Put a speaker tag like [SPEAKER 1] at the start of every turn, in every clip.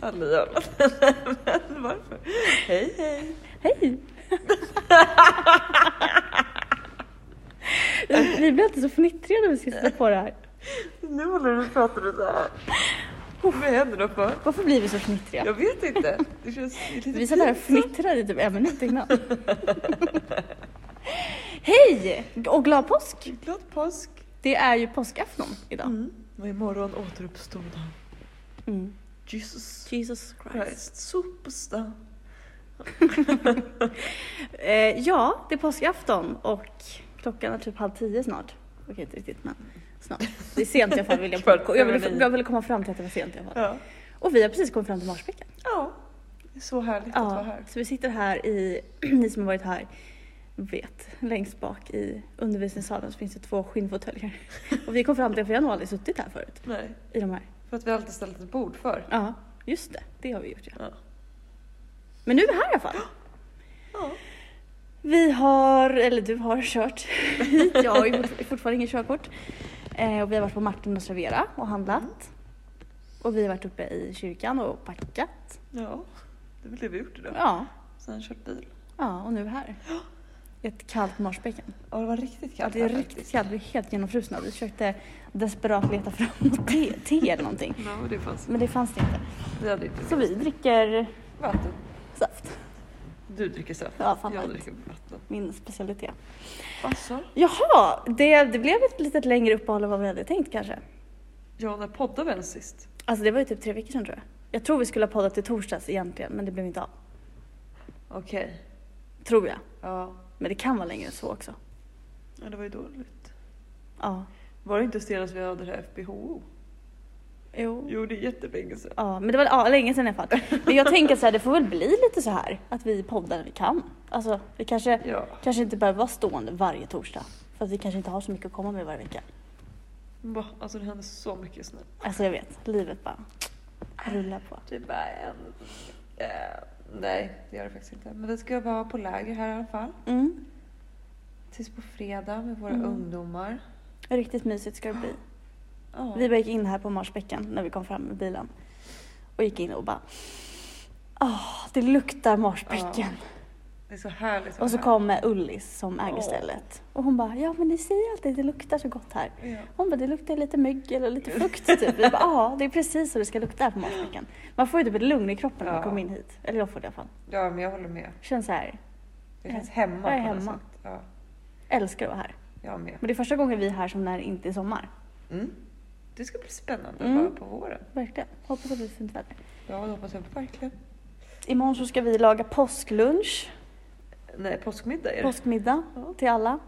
[SPEAKER 1] aldrig gör något. Men Varför? Hej hej.
[SPEAKER 2] Hej! Vi- Vi blir alltid så fnittriga när vi ska sätta på det här.
[SPEAKER 1] Nu håller du och pratar du så här. Vad händer då för?
[SPEAKER 2] Varför blir vi så fnittriga?
[SPEAKER 1] Jag vet inte. Det känns det är lite
[SPEAKER 2] Vi satt här och
[SPEAKER 1] pinsamt.
[SPEAKER 2] fnittrade i typ en minut innan. Hej! Och glad påsk!
[SPEAKER 1] Glad påsk.
[SPEAKER 2] Det är ju påskafton idag.
[SPEAKER 1] Mm. Och imorgon återuppstod han.
[SPEAKER 2] Mm.
[SPEAKER 1] Jesus
[SPEAKER 2] Jesus
[SPEAKER 1] Christ. Superstar.
[SPEAKER 2] Eh, ja, det är påskafton och klockan är typ halv tio snart. Okej, inte riktigt men snart. Det är sent i alla fall vill jag
[SPEAKER 1] Kvart
[SPEAKER 2] påpeka. Jag ville,
[SPEAKER 1] över nio.
[SPEAKER 2] jag ville komma fram till att det var sent i alla fall.
[SPEAKER 1] Ja.
[SPEAKER 2] Och vi har precis kommit fram till Marsbäcken.
[SPEAKER 1] ja. Det är så härligt att vara
[SPEAKER 2] Ja,
[SPEAKER 1] här.
[SPEAKER 2] så vi sitter här i, ni som har varit här vet, längst bak i undervisningssalen så finns det två skinnfåtöljer. Och vi kom fram till det för jag har nog aldrig suttit här förut.
[SPEAKER 1] Nej.
[SPEAKER 2] I de här.
[SPEAKER 1] För att vi alltid ställt ett bord för.
[SPEAKER 2] Ja, just det. Det har vi gjort ja.
[SPEAKER 1] Ja.
[SPEAKER 2] Men nu är vi här i alla fall.
[SPEAKER 1] Ja.
[SPEAKER 2] Vi har, eller du har kört hit, jag har ju fortfar- fortfarande inget körkort. Eh, och vi har varit på Martin och Servera och
[SPEAKER 1] Mm.
[SPEAKER 2] handlat. Och vi har varit uppe i kyrkan och packat.
[SPEAKER 1] ja. Det blev vi gjort idag.
[SPEAKER 2] Ja,
[SPEAKER 1] Sen kört bil.
[SPEAKER 2] ja och nu är vi här. Ett kallt Marsbäcken.
[SPEAKER 1] Ja, det var riktigt
[SPEAKER 2] Ja,
[SPEAKER 1] kallt
[SPEAKER 2] det är
[SPEAKER 1] här
[SPEAKER 2] riktigt
[SPEAKER 1] faktiskt.
[SPEAKER 2] kallt, vi är helt genomfrusna. Vi försökte desperat leta fram något te, te eller någonting.
[SPEAKER 1] Ja, det fanns.
[SPEAKER 2] Men det fanns det inte.
[SPEAKER 1] Vi hade inte
[SPEAKER 2] Så vi dricker
[SPEAKER 1] vatten.
[SPEAKER 2] saft.
[SPEAKER 1] Du dricker saft.
[SPEAKER 2] Ja, fan
[SPEAKER 1] jag
[SPEAKER 2] vad
[SPEAKER 1] dricker vatten.
[SPEAKER 2] Min specialitet.
[SPEAKER 1] Alltså,
[SPEAKER 2] Jaha, det, det blev ett lite längre uppehåll än vad vi hade tänkt kanske.
[SPEAKER 1] ja, när poddade vi ens sist?
[SPEAKER 2] Alltså det var ju typ tre veckor sedan tror jag. Jag tror vi skulle ha poddat i torsdags egentligen, men det blev inte av.
[SPEAKER 1] Okej.
[SPEAKER 2] Tror jag.
[SPEAKER 1] Ja.
[SPEAKER 2] Men det kan vara längre än så också.
[SPEAKER 1] ja, det var ju dåligt.
[SPEAKER 2] Ja.
[SPEAKER 1] Var det inte senast vi hade det här FBHO?
[SPEAKER 2] Jo.
[SPEAKER 1] Jo, det är jättelänge sedan.
[SPEAKER 2] Ja, men det var ja, länge sedan i alla fall. Men jag tänker så här, det får väl bli lite så här att vi poddar när vi kan. Alltså, vi kanske,
[SPEAKER 1] Ja.
[SPEAKER 2] kanske inte behöver vara stående varje torsdag. För att vi kanske inte har så mycket att komma med varje vecka.
[SPEAKER 1] Va? Alltså det händer så mycket snabbt.
[SPEAKER 2] Alltså jag vet, livet bara rullar på.
[SPEAKER 1] Det är bara en... Eh, nej, det gör det faktiskt inte. Men vi ska vara på läger här i alla fall.
[SPEAKER 2] Mm.
[SPEAKER 1] Tills på fredag med våra
[SPEAKER 2] Mm.
[SPEAKER 1] ungdomar.
[SPEAKER 2] Riktigt mysigt ska det bli.
[SPEAKER 1] Ja.
[SPEAKER 2] Vi bara gick in här på Marsbäcken när vi kom fram med bilen. Och gick in och bara... Åh, det luktar Marsbäcken.
[SPEAKER 1] Det är så härligt. att
[SPEAKER 2] Och så
[SPEAKER 1] vara
[SPEAKER 2] kom eh, Ullis som äger
[SPEAKER 1] Åh.
[SPEAKER 2] stället. Och hon bara, ja men ni säger alltid att det luktar så gott här.
[SPEAKER 1] här. Ja.
[SPEAKER 2] Hon bara, det luktar lite mögel och lite fukt typ. Vi bara, ja det är precis så det ska lukta här på Marsbäcken. Man får ju typ ett lugn i kroppen när man
[SPEAKER 1] Ja.
[SPEAKER 2] kommer in hit. Eller jag får det i alla fall.
[SPEAKER 1] ja, men jag håller med.
[SPEAKER 2] Känns så här,
[SPEAKER 1] Det känns hemma
[SPEAKER 2] Jag är
[SPEAKER 1] på något
[SPEAKER 2] hemma.
[SPEAKER 1] sätt. Ja,
[SPEAKER 2] älskar att vara här.
[SPEAKER 1] jag med.
[SPEAKER 2] Men det är första gången vi är här som när det inte är sommar.
[SPEAKER 1] Mm. Det ska bli spännande
[SPEAKER 2] Mm.
[SPEAKER 1] bara på våren.
[SPEAKER 2] Verkligen. Hoppas att det blir fint väder.
[SPEAKER 1] Ja, det hoppas jag verkligen.
[SPEAKER 2] Imorgon så ska vi laga påsklunch,
[SPEAKER 1] Nej, påskmiddag är det.
[SPEAKER 2] påskmiddag
[SPEAKER 1] Ja.
[SPEAKER 2] till alla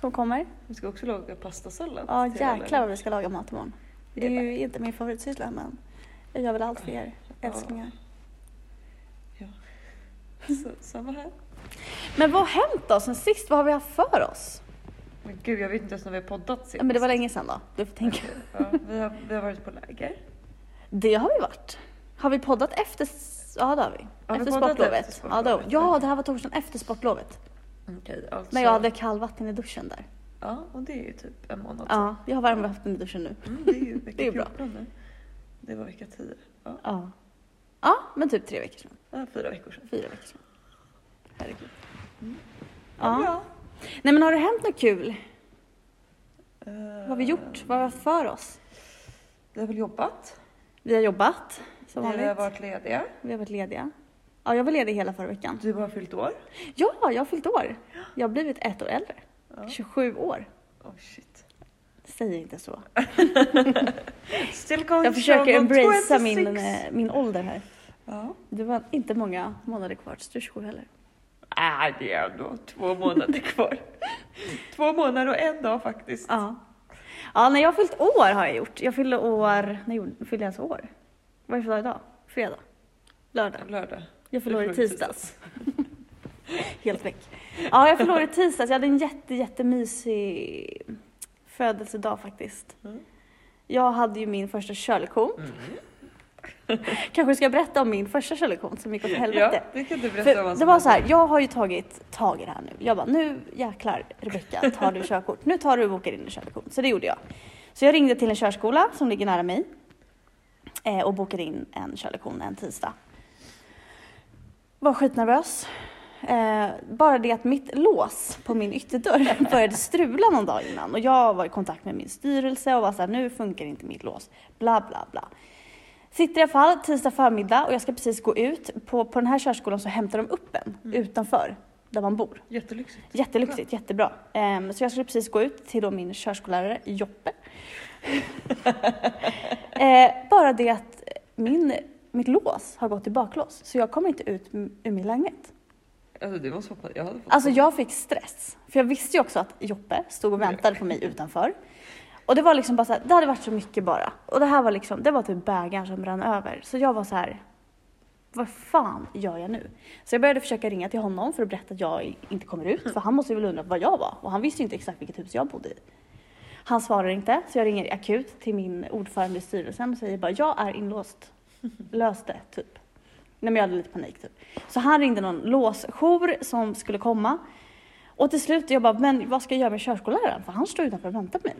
[SPEAKER 2] som kommer.
[SPEAKER 1] Vi ska också laga pastasallad.
[SPEAKER 2] Ja
[SPEAKER 1] till alla.
[SPEAKER 2] jäklar vad vi ska laga mat imorgon.
[SPEAKER 1] Det
[SPEAKER 2] Det
[SPEAKER 1] är
[SPEAKER 2] är ju inte min favoritsyssla men jag gör väl allt för er
[SPEAKER 1] Ja.
[SPEAKER 2] älsklingar.
[SPEAKER 1] Så, samma här.
[SPEAKER 2] Men vad har hänt då sen sist? Vad har vi haft för oss?
[SPEAKER 1] Men gud, jag vet inte ens när vi har poddat sist.
[SPEAKER 2] Ja, men det var länge sedan då, du får tänka.
[SPEAKER 1] Ja, vi, har, vi har varit på läger.
[SPEAKER 2] Det har vi varit. Har vi poddat efter... s- Ja det har vi.
[SPEAKER 1] vi poddat
[SPEAKER 2] efter sportlovet.
[SPEAKER 1] efter
[SPEAKER 2] Ja,
[SPEAKER 1] sportlovet.
[SPEAKER 2] det, har vi. ja det här var torsdagen efter sportlovet.
[SPEAKER 1] Okej, alltså.
[SPEAKER 2] När jag hade kallvatten i duschen där.
[SPEAKER 1] Ja, och det är ju typ en månad
[SPEAKER 2] Ja, jag har varmvatten i duschen nu.
[SPEAKER 1] sedan. Mm, det är ju vecka
[SPEAKER 2] Det är bra.
[SPEAKER 1] 14 nu. Det var vecka 10. Ja,
[SPEAKER 2] Ja. Ja, men typ tre veckor sedan.
[SPEAKER 1] det var fyra veckor sedan.
[SPEAKER 2] Fyra veckor sedan. Herregud. Mm.
[SPEAKER 1] Ja.
[SPEAKER 2] Ja. Nej men har det hänt något kul?
[SPEAKER 1] Eh,
[SPEAKER 2] Vad har vi gjort? Vad har vi haft för oss?
[SPEAKER 1] Vi har väl jobbat.
[SPEAKER 2] Vi har jobbat som
[SPEAKER 1] Vi har
[SPEAKER 2] vanligt.
[SPEAKER 1] varit lediga.
[SPEAKER 2] Vi har varit lediga. Ja, jag var ledig hela förra veckan.
[SPEAKER 1] Du har fyllt år.
[SPEAKER 2] Ja, jag har fyllt år. Jag har blivit ett år äldre.
[SPEAKER 1] Ja.
[SPEAKER 2] 27 år.
[SPEAKER 1] Oh shit.
[SPEAKER 2] Säg inte så.
[SPEAKER 1] Still going
[SPEAKER 2] Jag försöker
[SPEAKER 1] strong on
[SPEAKER 2] embracea
[SPEAKER 1] 26.
[SPEAKER 2] min, eh, min ålder här.
[SPEAKER 1] Ja.
[SPEAKER 2] Det var inte många månader kvar tills du är 27 heller.
[SPEAKER 1] Nej, Äh, det är ändå två månader kvar. två månader och en dag faktiskt.
[SPEAKER 2] Ja. Ja, när jag har fyllt år har jag gjort. Jag fyllde år... När gjorde- fyllde jag ens år? Vad är det för dag idag? Fredag? Lördag?
[SPEAKER 1] Lördag.
[SPEAKER 2] Jag fyllde
[SPEAKER 1] Du
[SPEAKER 2] år i
[SPEAKER 1] fyller
[SPEAKER 2] tisdags. Helt väck. Ja, jag fyllde år i tisdags. Jag hade en jätte, jättemysig födelsedag faktiskt.
[SPEAKER 1] Mm.
[SPEAKER 2] Jag hade ju min första körlektion. Kanske ska jag berätta om min första körlektion som gick åt helvete.
[SPEAKER 1] Ja, det kan du berätta om
[SPEAKER 2] För
[SPEAKER 1] vad
[SPEAKER 2] det
[SPEAKER 1] som
[SPEAKER 2] var så här,
[SPEAKER 1] hände.
[SPEAKER 2] jag har ju tagit tag i det här nu. Jag bara, nu jäklar Rebecka tar du körkort. Nu tar du och bokar in en körlektion. Så det gjorde jag. Så jag ringde till en körskola som ligger nära mig. Eh, och bokade in en körlektion en tisdag. Var skitnervös. Eh, bara det att mitt lås på min ytterdörr började strula någon dag innan och jag var i kontakt med min styrelse och var såhär, nu funkar inte mitt lås, bla bla bla. Sitter i alla fall tisdag förmiddag och jag ska precis gå ut. På, på den här körskolan så hämtar de upp en utanför där man bor.
[SPEAKER 1] Jättelyxigt.
[SPEAKER 2] Jättelyxigt, jättebra. Ehm, så jag skulle precis gå ut till då min körskollärare Joppe. Eh, bara det att min, mitt lås har gått i baklås så jag kommer inte ut m- ur min lägenhet.
[SPEAKER 1] Alltså du måste hoppas, jag hade fått
[SPEAKER 2] Alltså jag fick stress. För jag visste ju också att Joppe stod och väntade på mig utanför. Och det var liksom bara så här, det hade varit så mycket bara. Och det här var liksom, det var typ bägaren som brann över. Så jag var så här, vad fan gör jag nu? Så jag började försöka ringa till honom för att berätta att jag inte kommer ut. För han måste ju väl undra var jag var. Och han visste ju inte exakt vilket hus jag bodde i. Han svarar inte, så jag ringer akut till min ordförande i styrelsen och säger bara, jag är inlåst. Lös det, typ. Nej men jag hade lite panik typ. Så han ringde någon låsjour som skulle komma. Och till slut, jag bara, men vad ska jag göra med körskolläraren? För han står utanför och väntar på mig.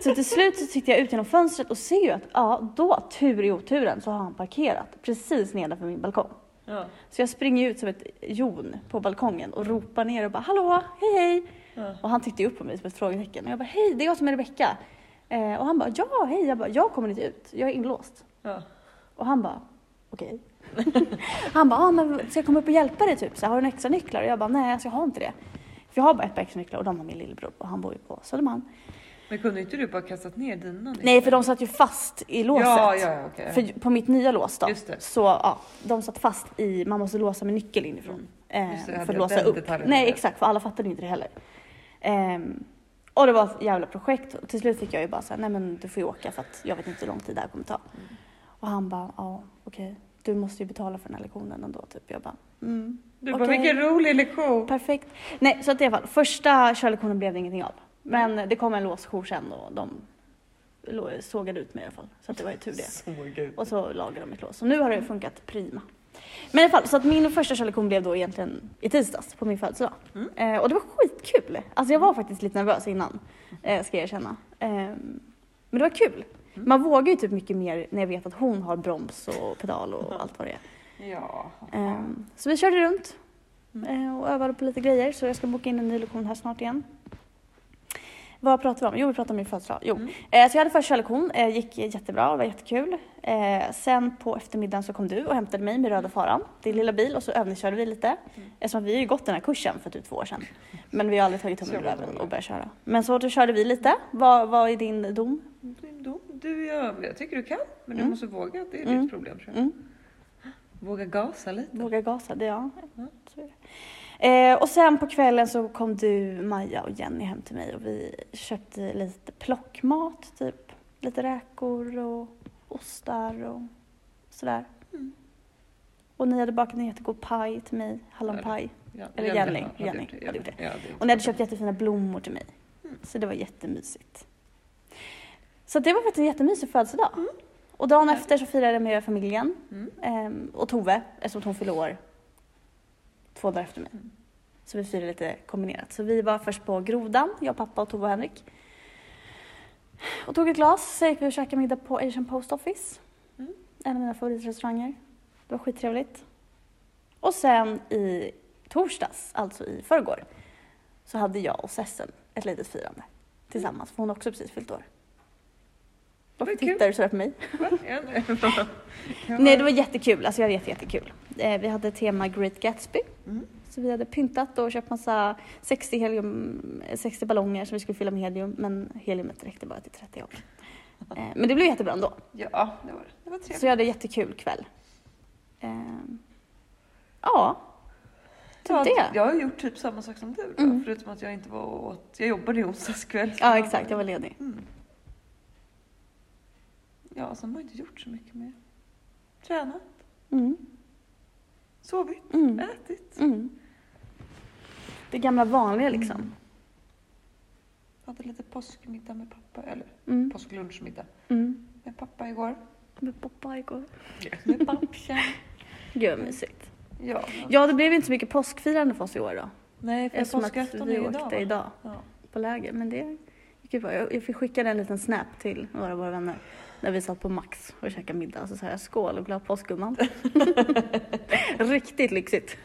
[SPEAKER 2] Så till slut så tittar jag ut genom fönstret och ser ju att, ja då, tur i oturen, så har han parkerat precis nedanför min balkong.
[SPEAKER 1] Ja.
[SPEAKER 2] Så jag springer ut som ett jon på balkongen och ropar ner och bara, hallå, hej hej!
[SPEAKER 1] Ja.
[SPEAKER 2] Och han tittade ju upp på mig som ett frågetecken. Och jag bara, hej, det är jag som är Rebecka. Eh, och han bara, ja, hej. Jag bara, jag kommer inte ut. Jag är inlåst.
[SPEAKER 1] Ja.
[SPEAKER 2] Och han bara, okej. han bara, ah, men ska jag komma upp och hjälpa dig typ? Så här, har du en extra nycklar? Och jag bara, nej, alltså, jag har inte det. För jag har bara ett par extra nycklar och de har min lillebror och han bor ju på Södermalm.
[SPEAKER 1] Men kunde inte du bara kastat ner dina nycklar?
[SPEAKER 2] Nej, för de satt ju fast i låset.
[SPEAKER 1] Ja, ja, ja, okej.
[SPEAKER 2] För på mitt nya lås då,
[SPEAKER 1] Just det.
[SPEAKER 2] så ja, de satt fast i, man måste låsa med nyckel
[SPEAKER 1] Mm.
[SPEAKER 2] inifrån. eh,
[SPEAKER 1] Just det, hade
[SPEAKER 2] för att
[SPEAKER 1] jag
[SPEAKER 2] låsa
[SPEAKER 1] den
[SPEAKER 2] upp.
[SPEAKER 1] detaljen
[SPEAKER 2] Nej
[SPEAKER 1] med.
[SPEAKER 2] exakt, för alla fattade ju inte det heller. Ehm, och det var ett jävla projekt. Och till slut fick jag ju bara säga, nej men du får ju åka för att jag vet inte hur lång tid det här kommer ta.
[SPEAKER 1] Mm.
[SPEAKER 2] Och han bara, ja okej, du måste ju betala för den här lektionen ändå typ. Jag bara, mm,
[SPEAKER 1] Du bara,
[SPEAKER 2] okej.
[SPEAKER 1] vilken rolig lektion!
[SPEAKER 2] Perfekt. Nej, så att i alla fall, första körlektionen blev det ingenting av.
[SPEAKER 1] Mm.
[SPEAKER 2] Men det kom en låsjour sen och de lo- sågade ut mig i alla fall. Så att det var ju tur det.
[SPEAKER 1] Så gud.
[SPEAKER 2] Och så lagade de mitt lås. Så nu har det funkat prima. Men i alla fall, så att min första körlektion blev då egentligen i tisdags på min födelsedag.
[SPEAKER 1] Mm.
[SPEAKER 2] Eh, och det var skitkul. Alltså jag var faktiskt lite nervös innan, eh, ska jag erkänna. Eh, men det var kul.
[SPEAKER 1] Mm.
[SPEAKER 2] Man vågar ju typ mycket mer när jag vet att hon har broms och pedal
[SPEAKER 1] Mm.
[SPEAKER 2] och allt vad det är.
[SPEAKER 1] Ja.
[SPEAKER 2] Ehm, Så vi körde runt
[SPEAKER 1] Mm.
[SPEAKER 2] eh, och övade på lite grejer så jag ska boka in en ny lektion här snart igen. Vad pratar vi om? Jo, vi pratar om min födelsedag. Jo.
[SPEAKER 1] Mm.
[SPEAKER 2] Eh, Så jag hade första lektion, eh, gick jättebra, det var jättekul. Eh, Sen på eftermiddagen så kom du och hämtade mig med röda faran, din lilla bil, och så övningskörde vi lite.
[SPEAKER 1] Mm.
[SPEAKER 2] Eftersom vi har ju gått den här kursen för typ två år sedan. Men vi har aldrig tagit
[SPEAKER 1] Så
[SPEAKER 2] tummen ur
[SPEAKER 1] jävla
[SPEAKER 2] röven
[SPEAKER 1] dåliga.
[SPEAKER 2] och börjat köra. Men så då körde vi lite. Vad, vad är din dom?
[SPEAKER 1] Din dom. Du, jag, jag tycker du kan, men du
[SPEAKER 2] Mm.
[SPEAKER 1] måste våga. Det är
[SPEAKER 2] Mm.
[SPEAKER 1] ditt problem tror jag.
[SPEAKER 2] Mm.
[SPEAKER 1] Våga gasa lite.
[SPEAKER 2] Våga gasa, det ja.
[SPEAKER 1] Mm.
[SPEAKER 2] Så är det. Eh, och sen på kvällen så kom du, Maja och Jenny hem till mig och vi köpte lite plockmat, typ lite räkor och ostar och sådär.
[SPEAKER 1] Mm.
[SPEAKER 2] Och ni hade bakat en jättegod paj till mig, hallonpaj.
[SPEAKER 1] Ja,
[SPEAKER 2] Eller
[SPEAKER 1] Jenny
[SPEAKER 2] Jenny.
[SPEAKER 1] har- hade
[SPEAKER 2] Jenny
[SPEAKER 1] gjort det.
[SPEAKER 2] hade gjort
[SPEAKER 1] Ja, det.
[SPEAKER 2] Och ni hade köpt jättefina blommor till mig.
[SPEAKER 1] Mm.
[SPEAKER 2] Så det var jättemysigt. Så det var faktiskt en jättemysig födelsedag. Och dagen efter så firade jag med familjen
[SPEAKER 1] Mm.
[SPEAKER 2] ehm, och Tove, eftersom hon fyllde år två dagar efter mig.
[SPEAKER 1] Mm.
[SPEAKER 2] Så vi firade lite kombinerat. Så vi var först på Grodan, jag, pappa och Tove och Henrik. Och tog ett glas, sen gick vi och käkade middag på Asian Post Office.
[SPEAKER 1] Mm.
[SPEAKER 2] En av mina favoritrestauranger. Det var skittrevligt. Och sen i torsdags, alltså i förrgår, så hade jag och Sessen ett litet firande
[SPEAKER 1] Mm.
[SPEAKER 2] tillsammans, för hon har också precis fyllt år. Varför
[SPEAKER 1] Vad kul.
[SPEAKER 2] tittar du sådär på mig?
[SPEAKER 1] Va? Ja, nej. Ja.
[SPEAKER 2] Nej, det var jättekul. Alltså jag vet jättekul. Eh, vi hade tema Great Gatsby,
[SPEAKER 1] Mm.
[SPEAKER 2] så vi hade pyntat och köpt massa 60, helium, 60 ballonger som vi skulle fylla med helium, men heliumet räckte bara till 30 år. Eh, men det blev jättebra ändå.
[SPEAKER 1] Ja, det var det. Det var trevligt.
[SPEAKER 2] Så jag hade jättekul kväll. Ehm, ja, typ
[SPEAKER 1] Ja,
[SPEAKER 2] det.
[SPEAKER 1] Jag har gjort typ samma sak som du då,
[SPEAKER 2] Mm.
[SPEAKER 1] förutom att jag inte var och åt. Jag jobbade i onsdags kväll. så
[SPEAKER 2] Ja, exakt. Jag var ledig.
[SPEAKER 1] Mm. Ja, sen har jag inte gjort så mycket mer. Tränat,
[SPEAKER 2] Mm,
[SPEAKER 1] sovit,
[SPEAKER 2] mm,
[SPEAKER 1] ätit.
[SPEAKER 2] mm. Det gamla vanliga liksom.
[SPEAKER 1] Hade lite påskmiddag med pappa, eller
[SPEAKER 2] Mm,
[SPEAKER 1] påsklunchmiddag
[SPEAKER 2] mm.
[SPEAKER 1] med pappa igår.
[SPEAKER 2] Med pappa igår.
[SPEAKER 1] Med pappchen.
[SPEAKER 2] Gud vad mysigt.
[SPEAKER 1] Ja.
[SPEAKER 2] Ja, det blev inte så mycket påskfirande för oss i år då.
[SPEAKER 1] Nej, för
[SPEAKER 2] Eftersom att
[SPEAKER 1] påskafton är
[SPEAKER 2] vi
[SPEAKER 1] ju
[SPEAKER 2] åkte
[SPEAKER 1] idag. va?
[SPEAKER 2] idag
[SPEAKER 1] Ja.
[SPEAKER 2] på läger. Men det gick ju bra. Jag jag fick skicka en liten snap till några av våra vänner. När vi satt på Max och käkade middag så sa jag skål och glad påsk gumman. Riktigt lyxigt.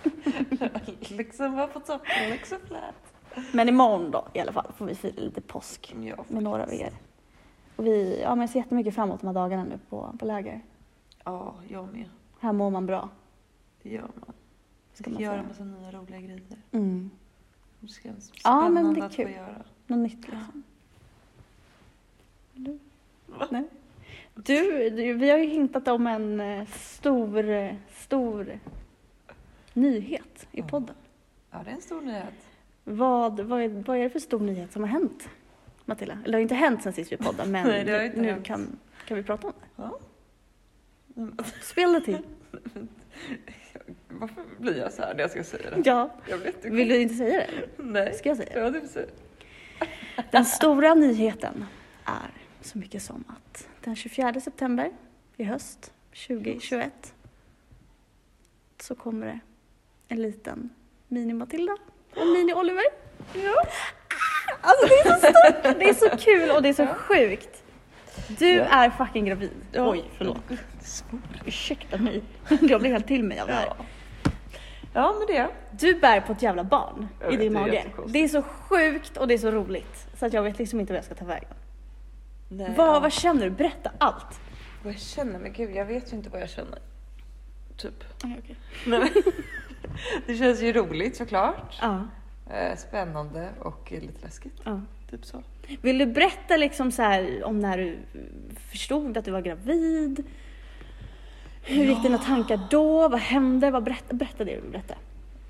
[SPEAKER 1] liksom var på toppen, liksom flät.
[SPEAKER 2] Men imorgon då i alla fall får vi fira lite påsk
[SPEAKER 1] Ja,
[SPEAKER 2] med några av er. Och vi, ja, men jag ser jättemycket fram emot de här dagarna nu på, på läger.
[SPEAKER 1] ja jag med.
[SPEAKER 2] Här mår man bra.
[SPEAKER 1] Det gör man.
[SPEAKER 2] Ska
[SPEAKER 1] Ska
[SPEAKER 2] man
[SPEAKER 1] göra
[SPEAKER 2] säga.
[SPEAKER 1] massa nya roliga grejer.
[SPEAKER 2] Mm.
[SPEAKER 1] Det ska vara
[SPEAKER 2] Ja, men
[SPEAKER 1] spännande
[SPEAKER 2] det är
[SPEAKER 1] att
[SPEAKER 2] kul.
[SPEAKER 1] få göra.
[SPEAKER 2] Något nytt liksom. Eller? Nej. Du, du, vi har ju hintat om en eh, stor, eh, stor nyhet i
[SPEAKER 1] Ja.
[SPEAKER 2] podden.
[SPEAKER 1] Ja, det är en stor nyhet.
[SPEAKER 2] Vad, vad, är, vad är det för stor nyhet som har hänt? Matilda? Eller det har inte hänt sen sist vi poddade men
[SPEAKER 1] Nej, det har inte
[SPEAKER 2] nu
[SPEAKER 1] hänt.
[SPEAKER 2] kan, kan vi prata om det.
[SPEAKER 1] Ja.
[SPEAKER 2] Mm. Spela till.
[SPEAKER 1] Varför blir jag så här när jag ska säga det?
[SPEAKER 2] Ja.
[SPEAKER 1] Jag vet inte.
[SPEAKER 2] Vill du inte säga det?
[SPEAKER 1] Nej. typ
[SPEAKER 2] Ska jag säga det?
[SPEAKER 1] Ja, du säger.
[SPEAKER 2] Den stora nyheten är så mycket som att den 24 september i höst 2021 så kommer det en liten mini-Matilda och mini-Oliver.
[SPEAKER 1] Ja.
[SPEAKER 2] Alltså det är så stort! Det är så kul och det är så
[SPEAKER 1] Ja.
[SPEAKER 2] sjukt. Du
[SPEAKER 1] Ja.
[SPEAKER 2] är fucking gravid.
[SPEAKER 1] Ja.
[SPEAKER 2] Oj, förlåt.
[SPEAKER 1] Svårt.
[SPEAKER 2] Ursäkta mig. Jag blev helt till mig av det här.
[SPEAKER 1] Ja. ja, men det.
[SPEAKER 2] Du bär på ett jävla barn
[SPEAKER 1] Jag
[SPEAKER 2] i
[SPEAKER 1] vet,
[SPEAKER 2] din
[SPEAKER 1] det är
[SPEAKER 2] mage.
[SPEAKER 1] jättekonstigt.
[SPEAKER 2] Det är så sjukt och det är så roligt så att jag vet liksom inte vad jag ska ta vägen.
[SPEAKER 1] Nej,
[SPEAKER 2] vad,
[SPEAKER 1] ja.
[SPEAKER 2] vad känner du? Berätta allt.
[SPEAKER 1] Vad jag känner? Men gud, jag vet ju inte vad jag känner. Typ. Det känns ju roligt såklart.
[SPEAKER 2] Ja,
[SPEAKER 1] Eh, Spännande och eh, lite läskigt.
[SPEAKER 2] ja.
[SPEAKER 1] Typ så.
[SPEAKER 2] Vill du berätta liksom så här om när du förstod att du var gravid? Hur gick dina tankar då? Vad hände? Vad berätta, berätta det du vill berätta.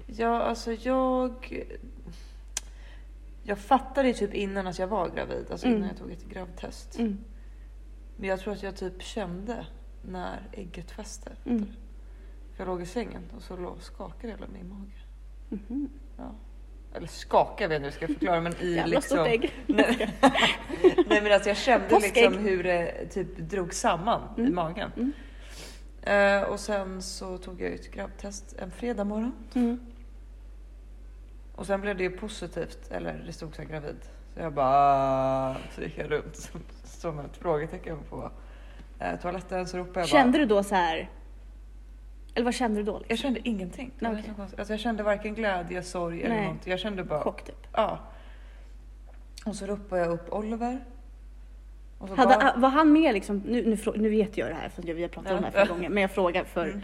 [SPEAKER 1] Ja, alltså jag... Jag fattade ju typ innan att jag var gravid, alltså
[SPEAKER 2] Mm.
[SPEAKER 1] innan jag tog ett gravtest.
[SPEAKER 2] Mm,
[SPEAKER 1] Men jag tror att jag typ kände när ägget fäste.
[SPEAKER 2] mm,
[SPEAKER 1] Jag låg i sängen och så låg, skakade hela min mage.
[SPEAKER 2] mhm.
[SPEAKER 1] Ja. Eller skakade vet jag nu ska jag förklara men i
[SPEAKER 2] Jävla
[SPEAKER 1] liksom...
[SPEAKER 2] stort ägg.
[SPEAKER 1] Nej, Nej men alltså jag kände
[SPEAKER 2] Påskägg.
[SPEAKER 1] liksom hur det typ drog samman i magen.
[SPEAKER 2] Mm.
[SPEAKER 1] Eh, och sen så tog jag ett grabbtest en fredag morgon.
[SPEAKER 2] Mm.
[SPEAKER 1] Och sen blev det ju positivt, eller det stod så här gravid. Så jag bara... Så gick jag runt som, som ett frågetecken på eh, toaletten. Så ropade jag bara...
[SPEAKER 2] Kände du då så här? Eller vad kände du då? Liksom?
[SPEAKER 1] Jag kände ingenting. Det var
[SPEAKER 2] Okej.
[SPEAKER 1] så konstigt. alltså jag kände varken glädje, sorg eller
[SPEAKER 2] Nej.
[SPEAKER 1] någonting. Jag kände bara...
[SPEAKER 2] Chock typ.
[SPEAKER 1] Ja. Och så ropade jag upp Oliver. Och så bara-
[SPEAKER 2] Hade, var han med liksom, nu, nu, frå- nu vet jag det här för vi har pratat om det här flera gånger, men jag frågar för
[SPEAKER 1] Mm.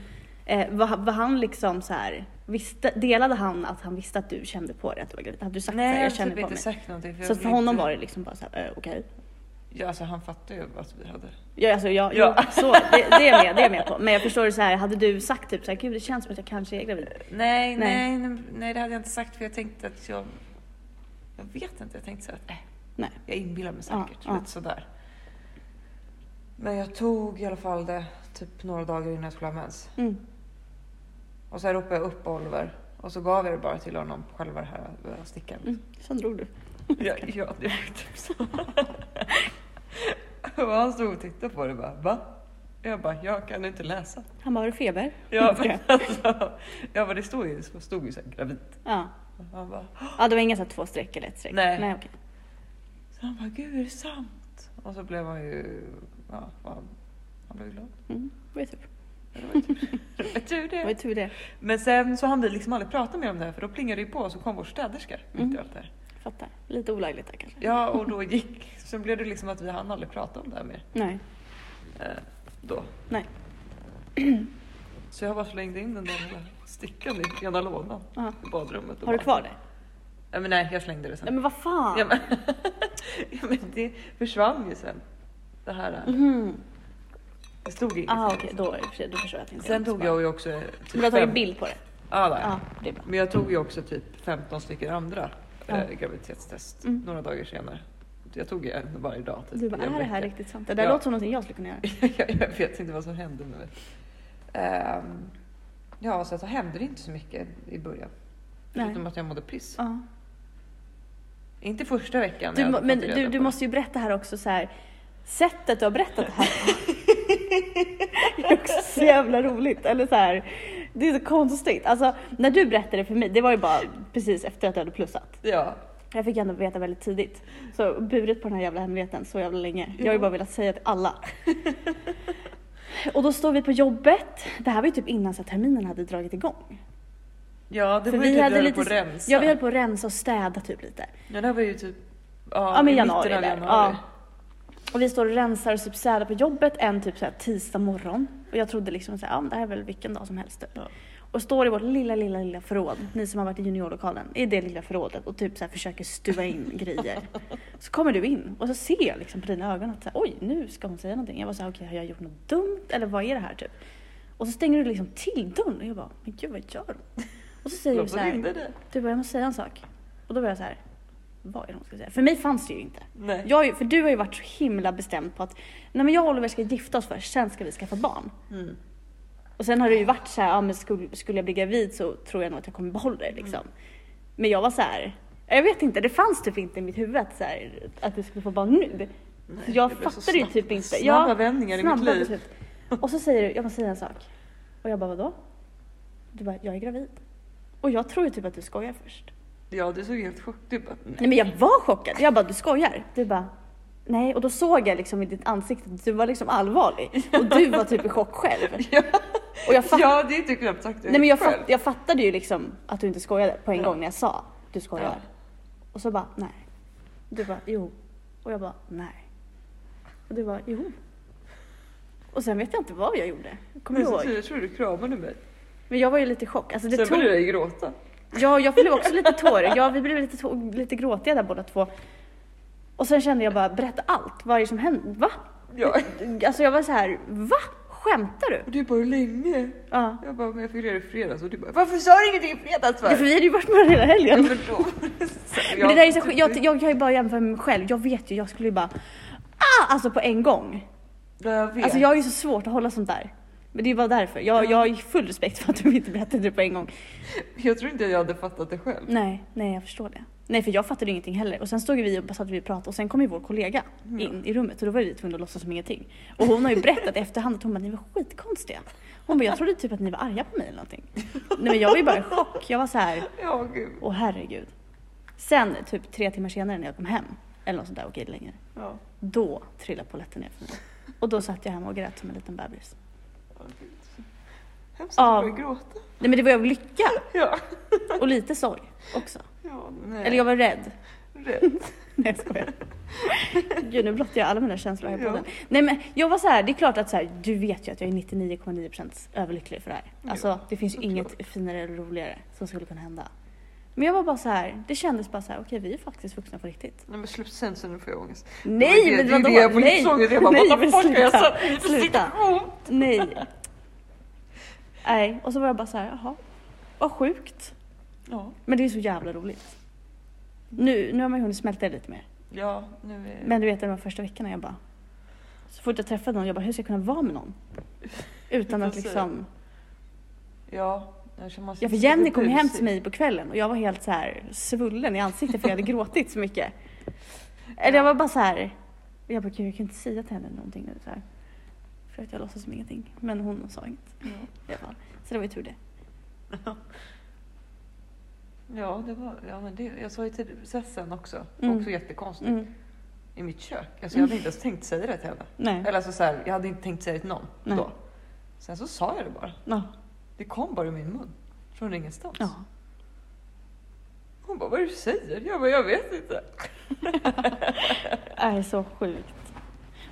[SPEAKER 2] eh, var, var han liksom så här, visste, delade han att han visste att du kände på det att du var gravid? Hade du sagt så
[SPEAKER 1] Nej,
[SPEAKER 2] här,
[SPEAKER 1] jag har
[SPEAKER 2] jag känner
[SPEAKER 1] typ
[SPEAKER 2] på
[SPEAKER 1] inte
[SPEAKER 2] mig?
[SPEAKER 1] sagt någonting. För
[SPEAKER 2] Så
[SPEAKER 1] jag
[SPEAKER 2] för
[SPEAKER 1] ville
[SPEAKER 2] honom
[SPEAKER 1] inte-
[SPEAKER 2] var det liksom bara såhär, eh, okej.
[SPEAKER 1] Ja, alltså han fattade ju att vi hade...
[SPEAKER 2] Ja, alltså, ja,
[SPEAKER 1] Ja.
[SPEAKER 2] ja. Så, det, det, är jag med, det är jag med på. Men jag förstår det så här, hade du sagt typ såhär, gud det känns som att jag kanske är gravid.
[SPEAKER 1] Nej,
[SPEAKER 2] Nej.
[SPEAKER 1] nej, nej, nej, det hade jag inte sagt för jag tänkte att jag... Jag vet inte, jag tänkte så att äh,
[SPEAKER 2] Nej.
[SPEAKER 1] jag inbillar mig
[SPEAKER 2] Ja,
[SPEAKER 1] säkert.
[SPEAKER 2] ja.
[SPEAKER 1] Lite sådär. Men jag tog i alla fall det typ några dagar innan jag skulle ha mens.
[SPEAKER 2] Mm.
[SPEAKER 1] Och så ropade jag upp Oliver och så gav jag det bara till honom på själva den här eh, stickan.
[SPEAKER 2] Mm. Sen drog du.
[SPEAKER 1] Ja, ja, det var typ så. Och han stod och tittade på det och bara, va? Jag bara, jag kan inte läsa.
[SPEAKER 2] Han bara, har du feber?
[SPEAKER 1] Jag bara, alltså, jag bara det stod ju, det stod ju så här gravid.
[SPEAKER 2] Ja.
[SPEAKER 1] Och Han bara,
[SPEAKER 2] ja, det var inga så här två streck eller ett streck?
[SPEAKER 1] Nej.
[SPEAKER 2] Nej okej.
[SPEAKER 1] så han bara, gud är det sant? Och så blev han ju, ja, han, han blev ju glad.
[SPEAKER 2] Mm. Det var ju tur.
[SPEAKER 1] Ja, Det var ju tur. Det var tur
[SPEAKER 2] Det var ju typ-
[SPEAKER 1] det.
[SPEAKER 2] tur det.
[SPEAKER 1] Men sen så hann vi liksom aldrig prata mer om det här för då plingade det ju på och så kom vår städerska. mitt i
[SPEAKER 2] Mm.
[SPEAKER 1] allt det här.
[SPEAKER 2] Fattar. Lite olagligt där kanske.
[SPEAKER 1] Ja och då gick, sen blev det liksom att vi hann aldrig prata om det här mer.
[SPEAKER 2] Nej.
[SPEAKER 1] Eh, då.
[SPEAKER 2] Nej.
[SPEAKER 1] Så jag bara slängde in den där lilla stickan i ena lådan
[SPEAKER 2] Ja.
[SPEAKER 1] i badrummet. och
[SPEAKER 2] Har du
[SPEAKER 1] bara-
[SPEAKER 2] kvar det?
[SPEAKER 1] Nej, men nej, jag slängde det sen.
[SPEAKER 2] Nej men vad fan!
[SPEAKER 1] Ja, men, ja, men det försvann ju sen. Det här. eh,
[SPEAKER 2] Mhm.
[SPEAKER 1] Det stod inget.
[SPEAKER 2] Ah, okej, då, är det för sig- då förstår jag att det inte
[SPEAKER 1] Sen tog jag ju också... eh, Typ
[SPEAKER 2] Men du har tagit
[SPEAKER 1] fem-
[SPEAKER 2] bild på det?
[SPEAKER 1] Ja,
[SPEAKER 2] Ja,
[SPEAKER 1] där.
[SPEAKER 2] det är bra.
[SPEAKER 1] Men jag tog ju också typ 15 stycken andra
[SPEAKER 2] Ja.
[SPEAKER 1] eh, graviditetstest
[SPEAKER 2] Mm.
[SPEAKER 1] några dagar senare. Jag tog ju en varje dag. Typ,
[SPEAKER 2] Du bara,
[SPEAKER 1] i en
[SPEAKER 2] är det här
[SPEAKER 1] vecka.
[SPEAKER 2] riktigt sant? Det där
[SPEAKER 1] Ja.
[SPEAKER 2] låter som någonting jag skulle kunna göra.
[SPEAKER 1] jag, jag vet inte vad som hände med mig. Ehm, ja, så att det hände inte så mycket i början.
[SPEAKER 2] Nej.
[SPEAKER 1] Förutom att jag mådde piss.
[SPEAKER 2] Ja.
[SPEAKER 1] Inte första veckan.
[SPEAKER 2] Du,
[SPEAKER 1] jag
[SPEAKER 2] må-
[SPEAKER 1] hade
[SPEAKER 2] men
[SPEAKER 1] fått
[SPEAKER 2] du,
[SPEAKER 1] reda
[SPEAKER 2] du
[SPEAKER 1] på.
[SPEAKER 2] måste ju berätta här också så här. Sättet du har berättat det här på. Det är också så jävla roligt. Eller så här, det är så konstigt. Alltså, när du berättade det för mig, det var ju bara precis efter att du hade plussat.
[SPEAKER 1] Ja.
[SPEAKER 2] Jag fick ändå veta väldigt tidigt. Så burit på den här jävla hemligheten så jävla länge. Jag har ju
[SPEAKER 1] Ja.
[SPEAKER 2] bara velat säga till alla. Och då står vi på jobbet. Det här var ju typ innan så här, terminen hade dragit igång.
[SPEAKER 1] Ja, det
[SPEAKER 2] För
[SPEAKER 1] var
[SPEAKER 2] vi
[SPEAKER 1] ju typ
[SPEAKER 2] hade
[SPEAKER 1] när vi
[SPEAKER 2] lite
[SPEAKER 1] på att
[SPEAKER 2] s-
[SPEAKER 1] rensa.
[SPEAKER 2] Ja, vi höll på att rensa och städa typ lite.
[SPEAKER 1] Ja, det här var ju typ ja,
[SPEAKER 2] Ja, men
[SPEAKER 1] i
[SPEAKER 2] januari.
[SPEAKER 1] mitten av
[SPEAKER 2] Där.
[SPEAKER 1] januari.
[SPEAKER 2] Ja. Och vi står och rensar och typ städar på jobbet en typ så här tisdag morgon. Och jag trodde liksom att ja, men det här är väl vilken dag som helst. Typ.
[SPEAKER 1] Ja.
[SPEAKER 2] Och står i vårt lilla, lilla, lilla förråd, ni som har varit i juniorlokalen, i det lilla förrådet och typ så här försöker stuva in grejer. Så kommer du in och så ser jag liksom på dina ögon att så här, oj, nu ska hon säga någonting. Jag var så här, okej, har jag gjort något dumt eller vad är det här typ? Och så stänger du liksom till dörren och jag bara, men gud vad gör hon? Och så säger du så
[SPEAKER 1] Då
[SPEAKER 2] här,
[SPEAKER 1] ringde det.
[SPEAKER 2] du bara, jag måste säga en sak. Och då var jag så här, vad är det hon ska säga? För mig fanns det ju inte.
[SPEAKER 1] Nej.
[SPEAKER 2] Jag, har ju- för du har ju varit så himla bestämd på att nej men jag och Oliver ska gifta oss först, sen ska vi skaffa barn.
[SPEAKER 1] Mm.
[SPEAKER 2] Och sen har du ju varit så här, ja, men skulle, skulle jag bli gravid så tror jag nog att jag kommer behålla det liksom.
[SPEAKER 1] Mm.
[SPEAKER 2] Men jag var så här, jag vet inte, det fanns typ inte i mitt huvud att, så här, att vi skulle få barn nu.
[SPEAKER 1] Nej,
[SPEAKER 2] Så jag
[SPEAKER 1] det blev så
[SPEAKER 2] fattade ju
[SPEAKER 1] snabbt-
[SPEAKER 2] typ inte.
[SPEAKER 1] Snabba
[SPEAKER 2] Ja,
[SPEAKER 1] vändningar i mitt
[SPEAKER 2] Snabba
[SPEAKER 1] liv.
[SPEAKER 2] beslut. Och så säger du, jag måste säga en sak. Och jag bara, vadå? Du bara, jag är gravid. Och jag tror ju typ att du skojar först.
[SPEAKER 1] Ja, du såg helt chockad ut. bara,
[SPEAKER 2] Nej men jag var chockad. Jag bara, du skojar? Du bara, nej. Och då såg jag liksom i ditt ansikte att du var liksom allvarlig. Och du var typ i chock själv.
[SPEAKER 1] Ja.
[SPEAKER 2] Och jag fatt...
[SPEAKER 1] Ja, det är typ knappt sagt det
[SPEAKER 2] Nej men jag,
[SPEAKER 1] själv.
[SPEAKER 2] fatt... jag fattade ju liksom att du inte skojade på en
[SPEAKER 1] Ja.
[SPEAKER 2] gång när jag sa, du skojar.
[SPEAKER 1] Ja.
[SPEAKER 2] Och så bara, nej. Du bara, jo. Och jag bara, nej. Och du bara, jo. Och sen vet jag inte vad jag gjorde. Kommer
[SPEAKER 1] Men
[SPEAKER 2] du
[SPEAKER 1] så,
[SPEAKER 2] ihåg?
[SPEAKER 1] så, jag tror du kramade mig.
[SPEAKER 2] Men jag var ju lite i chock. Alltså, det
[SPEAKER 1] Sen
[SPEAKER 2] tog...
[SPEAKER 1] började jag ju gråta.
[SPEAKER 2] Ja, jag blev också lite tårig. Ja, vi blev lite, tå- lite gråtiga där båda två. Och sen kände jag bara, berätta allt. Vad är det som händer? Va?
[SPEAKER 1] Ja.
[SPEAKER 2] Alltså jag var så här, va? Skämtar du?
[SPEAKER 1] Och du bara, hur länge?
[SPEAKER 2] Ja.
[SPEAKER 1] Jag bara, men jag fick reda i fredags. Och du bara, varför sa du ingenting i fredags för?
[SPEAKER 2] ja för vi hade ju varit med varandra hela
[SPEAKER 1] Ja,
[SPEAKER 2] helgen.
[SPEAKER 1] men då. Så
[SPEAKER 2] Men det där är så,
[SPEAKER 1] typ-
[SPEAKER 2] jag, jag kan ju bara jämföra med mig själv. Jag vet ju, jag skulle ju bara, ah! Alltså på en gång.
[SPEAKER 1] Ja, jag vet.
[SPEAKER 2] Alltså jag har ju så svårt att hålla sånt där. Men det var därför. Jag, jag har ju full respekt för att du inte berättade det på en gång.
[SPEAKER 1] Jag tror inte jag hade fattat det själv.
[SPEAKER 2] Nej, nej jag förstår det. Nej för jag fattade ju ingenting heller. Och sen stod ju vi och satt vi och pratade och sen kom ju vår kollega in i rummet och då var vi tvungna att låtsas som ingenting. Och hon har ju berättat i efterhand att hon bara, ni var skitkonstiga. Hon bara, jag trodde typ att ni var arga på mig eller någonting. Nej men jag var ju bara i chock. Jag var så här,
[SPEAKER 1] Ja, gud.
[SPEAKER 2] åh herregud. Sen typ tre timmar senare när jag kom hem, eller något sånt där, okej längre.
[SPEAKER 1] Ja.
[SPEAKER 2] Då trillade polletten ner för mig. Och då satt jag hemma och grät som en liten bebis.
[SPEAKER 1] Ja, gud. Hemskt
[SPEAKER 2] Ja.
[SPEAKER 1] att börja gråta.
[SPEAKER 2] Nej men det var ju av lycka
[SPEAKER 1] Ja.
[SPEAKER 2] och lite sorg också.
[SPEAKER 1] ja nej.
[SPEAKER 2] Eller jag var rädd.
[SPEAKER 1] Rädd.
[SPEAKER 2] Nej jag skojar. Gud nu blottar jag alla mina känslor här på
[SPEAKER 1] Ja.
[SPEAKER 2] den. Nej men jag var så här, det är klart att så här, du vet ju att jag är 99,9% överlycklig för det här.
[SPEAKER 1] Ja,
[SPEAKER 2] Alltså det finns ju
[SPEAKER 1] såklart.
[SPEAKER 2] inget finare eller roligare som skulle kunna hända. Men jag var bara så här, det kändes bara så här, okej vi är faktiskt vuxna på riktigt.
[SPEAKER 1] Nej men slut sen så nu får jag ångest.
[SPEAKER 2] Nej
[SPEAKER 1] det,
[SPEAKER 2] men
[SPEAKER 1] det är det
[SPEAKER 2] vadå?
[SPEAKER 1] jag på
[SPEAKER 2] Nej!
[SPEAKER 1] livsångest. Jag bara
[SPEAKER 2] Nej,
[SPEAKER 1] what the
[SPEAKER 2] men
[SPEAKER 1] fuck alltså. har jag satt
[SPEAKER 2] sluta.
[SPEAKER 1] mig i för
[SPEAKER 2] Sluta.
[SPEAKER 1] situation?
[SPEAKER 2] Nej. Nej och så var jag bara så här, jaha. Vad sjukt.
[SPEAKER 1] Ja.
[SPEAKER 2] Men det är så jävla roligt. Nu, nu har man ju hunnit smälta det lite mer.
[SPEAKER 1] Ja, nu är...
[SPEAKER 2] Men du vet, de här första veckorna, jag bara... Så fort jag träffade någon, jag bara, hur ska jag kunna vara med någon? Utan att
[SPEAKER 1] Precis.
[SPEAKER 2] liksom...
[SPEAKER 1] Ja. Jag känner man sig
[SPEAKER 2] Ja, för
[SPEAKER 1] lite
[SPEAKER 2] Jenny kom ju hem
[SPEAKER 1] busig.
[SPEAKER 2] till mig på kvällen och jag var helt så här svullen i ansiktet för jag hade gråtit så mycket. Eller jag var bara så här... och Jag bara, gud, jag kan inte säga till henne någonting nu så här. För att jag låtsas som ingenting. Men hon sa inget
[SPEAKER 1] Ja.
[SPEAKER 2] i alla fall. Så det var ju tur det.
[SPEAKER 1] Ja, det var, ja men det, jag sa ju till Sessen också,
[SPEAKER 2] Mm.
[SPEAKER 1] också jättekonstigt,
[SPEAKER 2] Mm.
[SPEAKER 1] i mitt kök. Alltså, jag hade inte ens tänkt säga det till henne.
[SPEAKER 2] Nej.
[SPEAKER 1] Eller alltså, så här, jag hade inte tänkt säga det till någon
[SPEAKER 2] Nej.
[SPEAKER 1] då. Sen så sa jag det bara.
[SPEAKER 2] Ja.
[SPEAKER 1] Det kom bara ur min mun. Från ingenstans.
[SPEAKER 2] ja.
[SPEAKER 1] Hon bara, vad är det du säger? Jag bara, jag vet inte.
[SPEAKER 2] Är så sjukt.